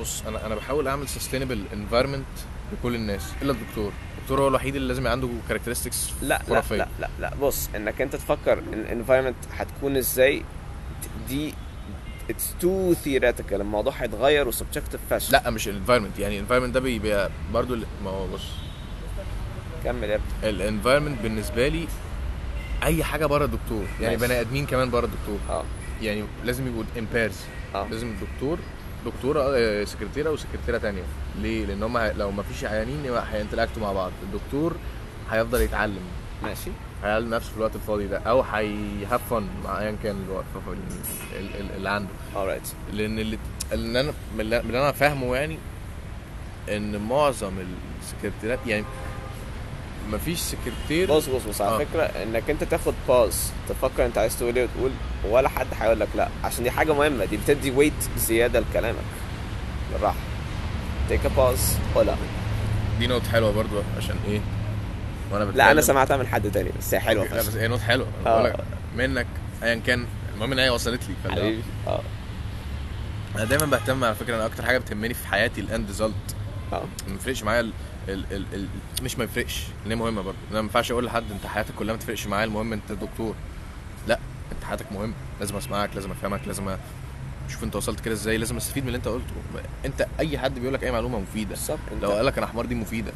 Speaker 1: بص انا انا بحاول اعمل سستينبل انفايرمنت لكل الناس الا الدكتور الدكتور هو الوحيد اللي لازم يبقى عنده كاركترستكس
Speaker 2: لا لا لا لا لا بص انك انت تفكر الانفايرمنت هتكون ازاي دي اتس تو ثيوريتيكال الموضوع هيتغير وسبجكتيف فاشل
Speaker 1: لا مش الانفايرمنت يعني الانفايرمنت ده بيبقى برضو ال- ما هو بص
Speaker 2: كمل يا ابني
Speaker 1: الانفايرمنت بالنسبه لي اي حاجه بره الدكتور يعني
Speaker 2: ماشي.
Speaker 1: بني ادمين كمان بره الدكتور
Speaker 2: اه
Speaker 1: يعني لازم يبقوا امبيرز
Speaker 2: اه
Speaker 1: لازم الدكتور دكتوره آه، سكرتيره وسكرتيره تانية ليه لان هم لو ما فيش عيانين يبقى هينتلاكتوا مع بعض الدكتور هيفضل يتعلم
Speaker 2: ماشي
Speaker 1: هيعلم نفسه في الوقت الفاضي ده او هيهاف فن مع ايا كان الوقت ال- ال- اللي عنده
Speaker 2: alright
Speaker 1: لان اللي اللي انا من اللي من اللي انا فاهمه يعني ان معظم السكرتيرات يعني مفيش سكرتير
Speaker 2: بص بص بص على
Speaker 1: آه.
Speaker 2: فكره انك انت تاخد باز تفكر انت عايز تقول ايه وتقول ولا حد هيقول لك لا عشان دي حاجه مهمه دي بتدي ويت زياده لكلامك بالراحه تيك باز ولا
Speaker 1: دي نوت حلوه برضو عشان ايه وانا
Speaker 2: لا انا
Speaker 1: بتكلم-
Speaker 2: سمعتها من حد تاني بس هي حلوه
Speaker 1: لا بس
Speaker 2: فشخ.
Speaker 1: هي نوت حلوه انا
Speaker 2: آه.
Speaker 1: بقولك منك ايا كان المهم ان هي وصلت لي فاللي هو-
Speaker 2: حبيبي اه
Speaker 1: انا دايما بهتم على فكره انا اكتر حاجه بتهمني في حياتي الاند ريزلت
Speaker 2: اه
Speaker 1: ما يفرقش معايا ال... ال... ال... ال... مش ما يفرقش ليه مهمه برضه انا ما ينفعش اقول لحد انت حياتك كلها ما تفرقش معايا المهم انت دكتور لا انت حياتك مهمه لازم اسمعك لازم افهمك لازم اشوف انت وصلت كده ازاي لازم استفيد من اللي انت قلته انت اي حد بيقول لك اي معلومه مفيده
Speaker 2: بالظبط انت
Speaker 1: لو قال لك انا حمار دي مفيده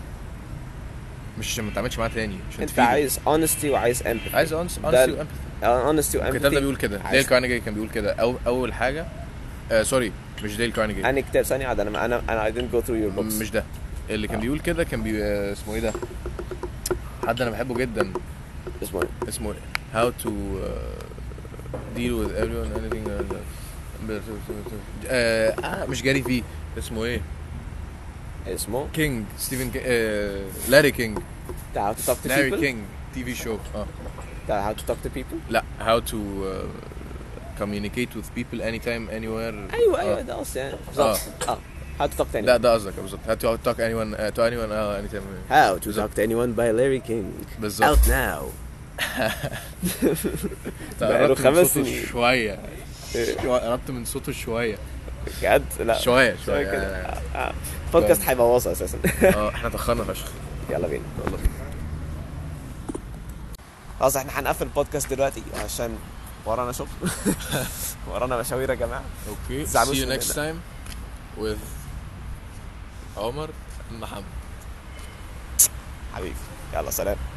Speaker 1: مش عشان ما تعملش معاها تاني عشان
Speaker 2: انت
Speaker 1: تفيده.
Speaker 2: عايز honesty وعايز empathy
Speaker 1: عايز honest-
Speaker 2: ده-
Speaker 1: honesty وempathy.
Speaker 2: honesty و
Speaker 1: كتاب ده
Speaker 2: empathy
Speaker 1: بيقول كده ديل
Speaker 2: عايز-
Speaker 1: كارنيجي كان بيقول كده أو اول حاجه آه سوري مش ديل كارنيجي
Speaker 2: انا كتاب ثانية عاد انا انا انا I didn't go through your books
Speaker 1: مش ده اللي كان
Speaker 2: آه.
Speaker 1: بيقول كده كان بي آه، اسمه ايه ده حد انا بحبه جدا
Speaker 2: اسمه ايه؟
Speaker 1: اسمه إيه؟ هاو تو ديل وذ آه، everyone anything uh, uh, آه مش جاري في اسمه ايه
Speaker 2: إيه؟ اسمه
Speaker 1: كينج ستيفن كينج آه لاري كينج
Speaker 2: بتاع how to talk to
Speaker 1: لاري
Speaker 2: people
Speaker 1: كينج تي في شو اه
Speaker 2: بتاع how to talk to people
Speaker 1: لا هاو تو آه، communicate with people anytime anywhere
Speaker 2: ايوه ايوه
Speaker 1: آه.
Speaker 2: ده قصدي يعني
Speaker 1: آه.
Speaker 2: بالظبط اه هاو تو توك تو
Speaker 1: لا ده قصدك بالظبط هات تو توك اني ون تو اني ون اه اني تايم
Speaker 2: هاو تو توك تو اني ون باي لاري كينج
Speaker 1: بالظبط
Speaker 2: اوت ناو بقاله
Speaker 1: قربت من
Speaker 2: خمس
Speaker 1: صوته
Speaker 2: سنين.
Speaker 1: شويه
Speaker 2: إيه.
Speaker 1: شوية- قربت من صوته شويه
Speaker 2: بجد لا
Speaker 1: شويه شويه
Speaker 2: شوية كده.
Speaker 1: يعني-
Speaker 2: آه. بودكاست هيبوظها اساسا
Speaker 1: اه احنا تخنا فشخ
Speaker 2: يلا بينا
Speaker 1: يلا بينا
Speaker 2: خلاص احنا هنقفل البودكاست دلوقتي عشان ورانا شغل ورانا مشاوير يا جماعه
Speaker 1: اوكي
Speaker 2: تزعلوش
Speaker 1: see you
Speaker 2: مننا.
Speaker 1: next time with عمر محمد
Speaker 2: حبيبي يلا سلام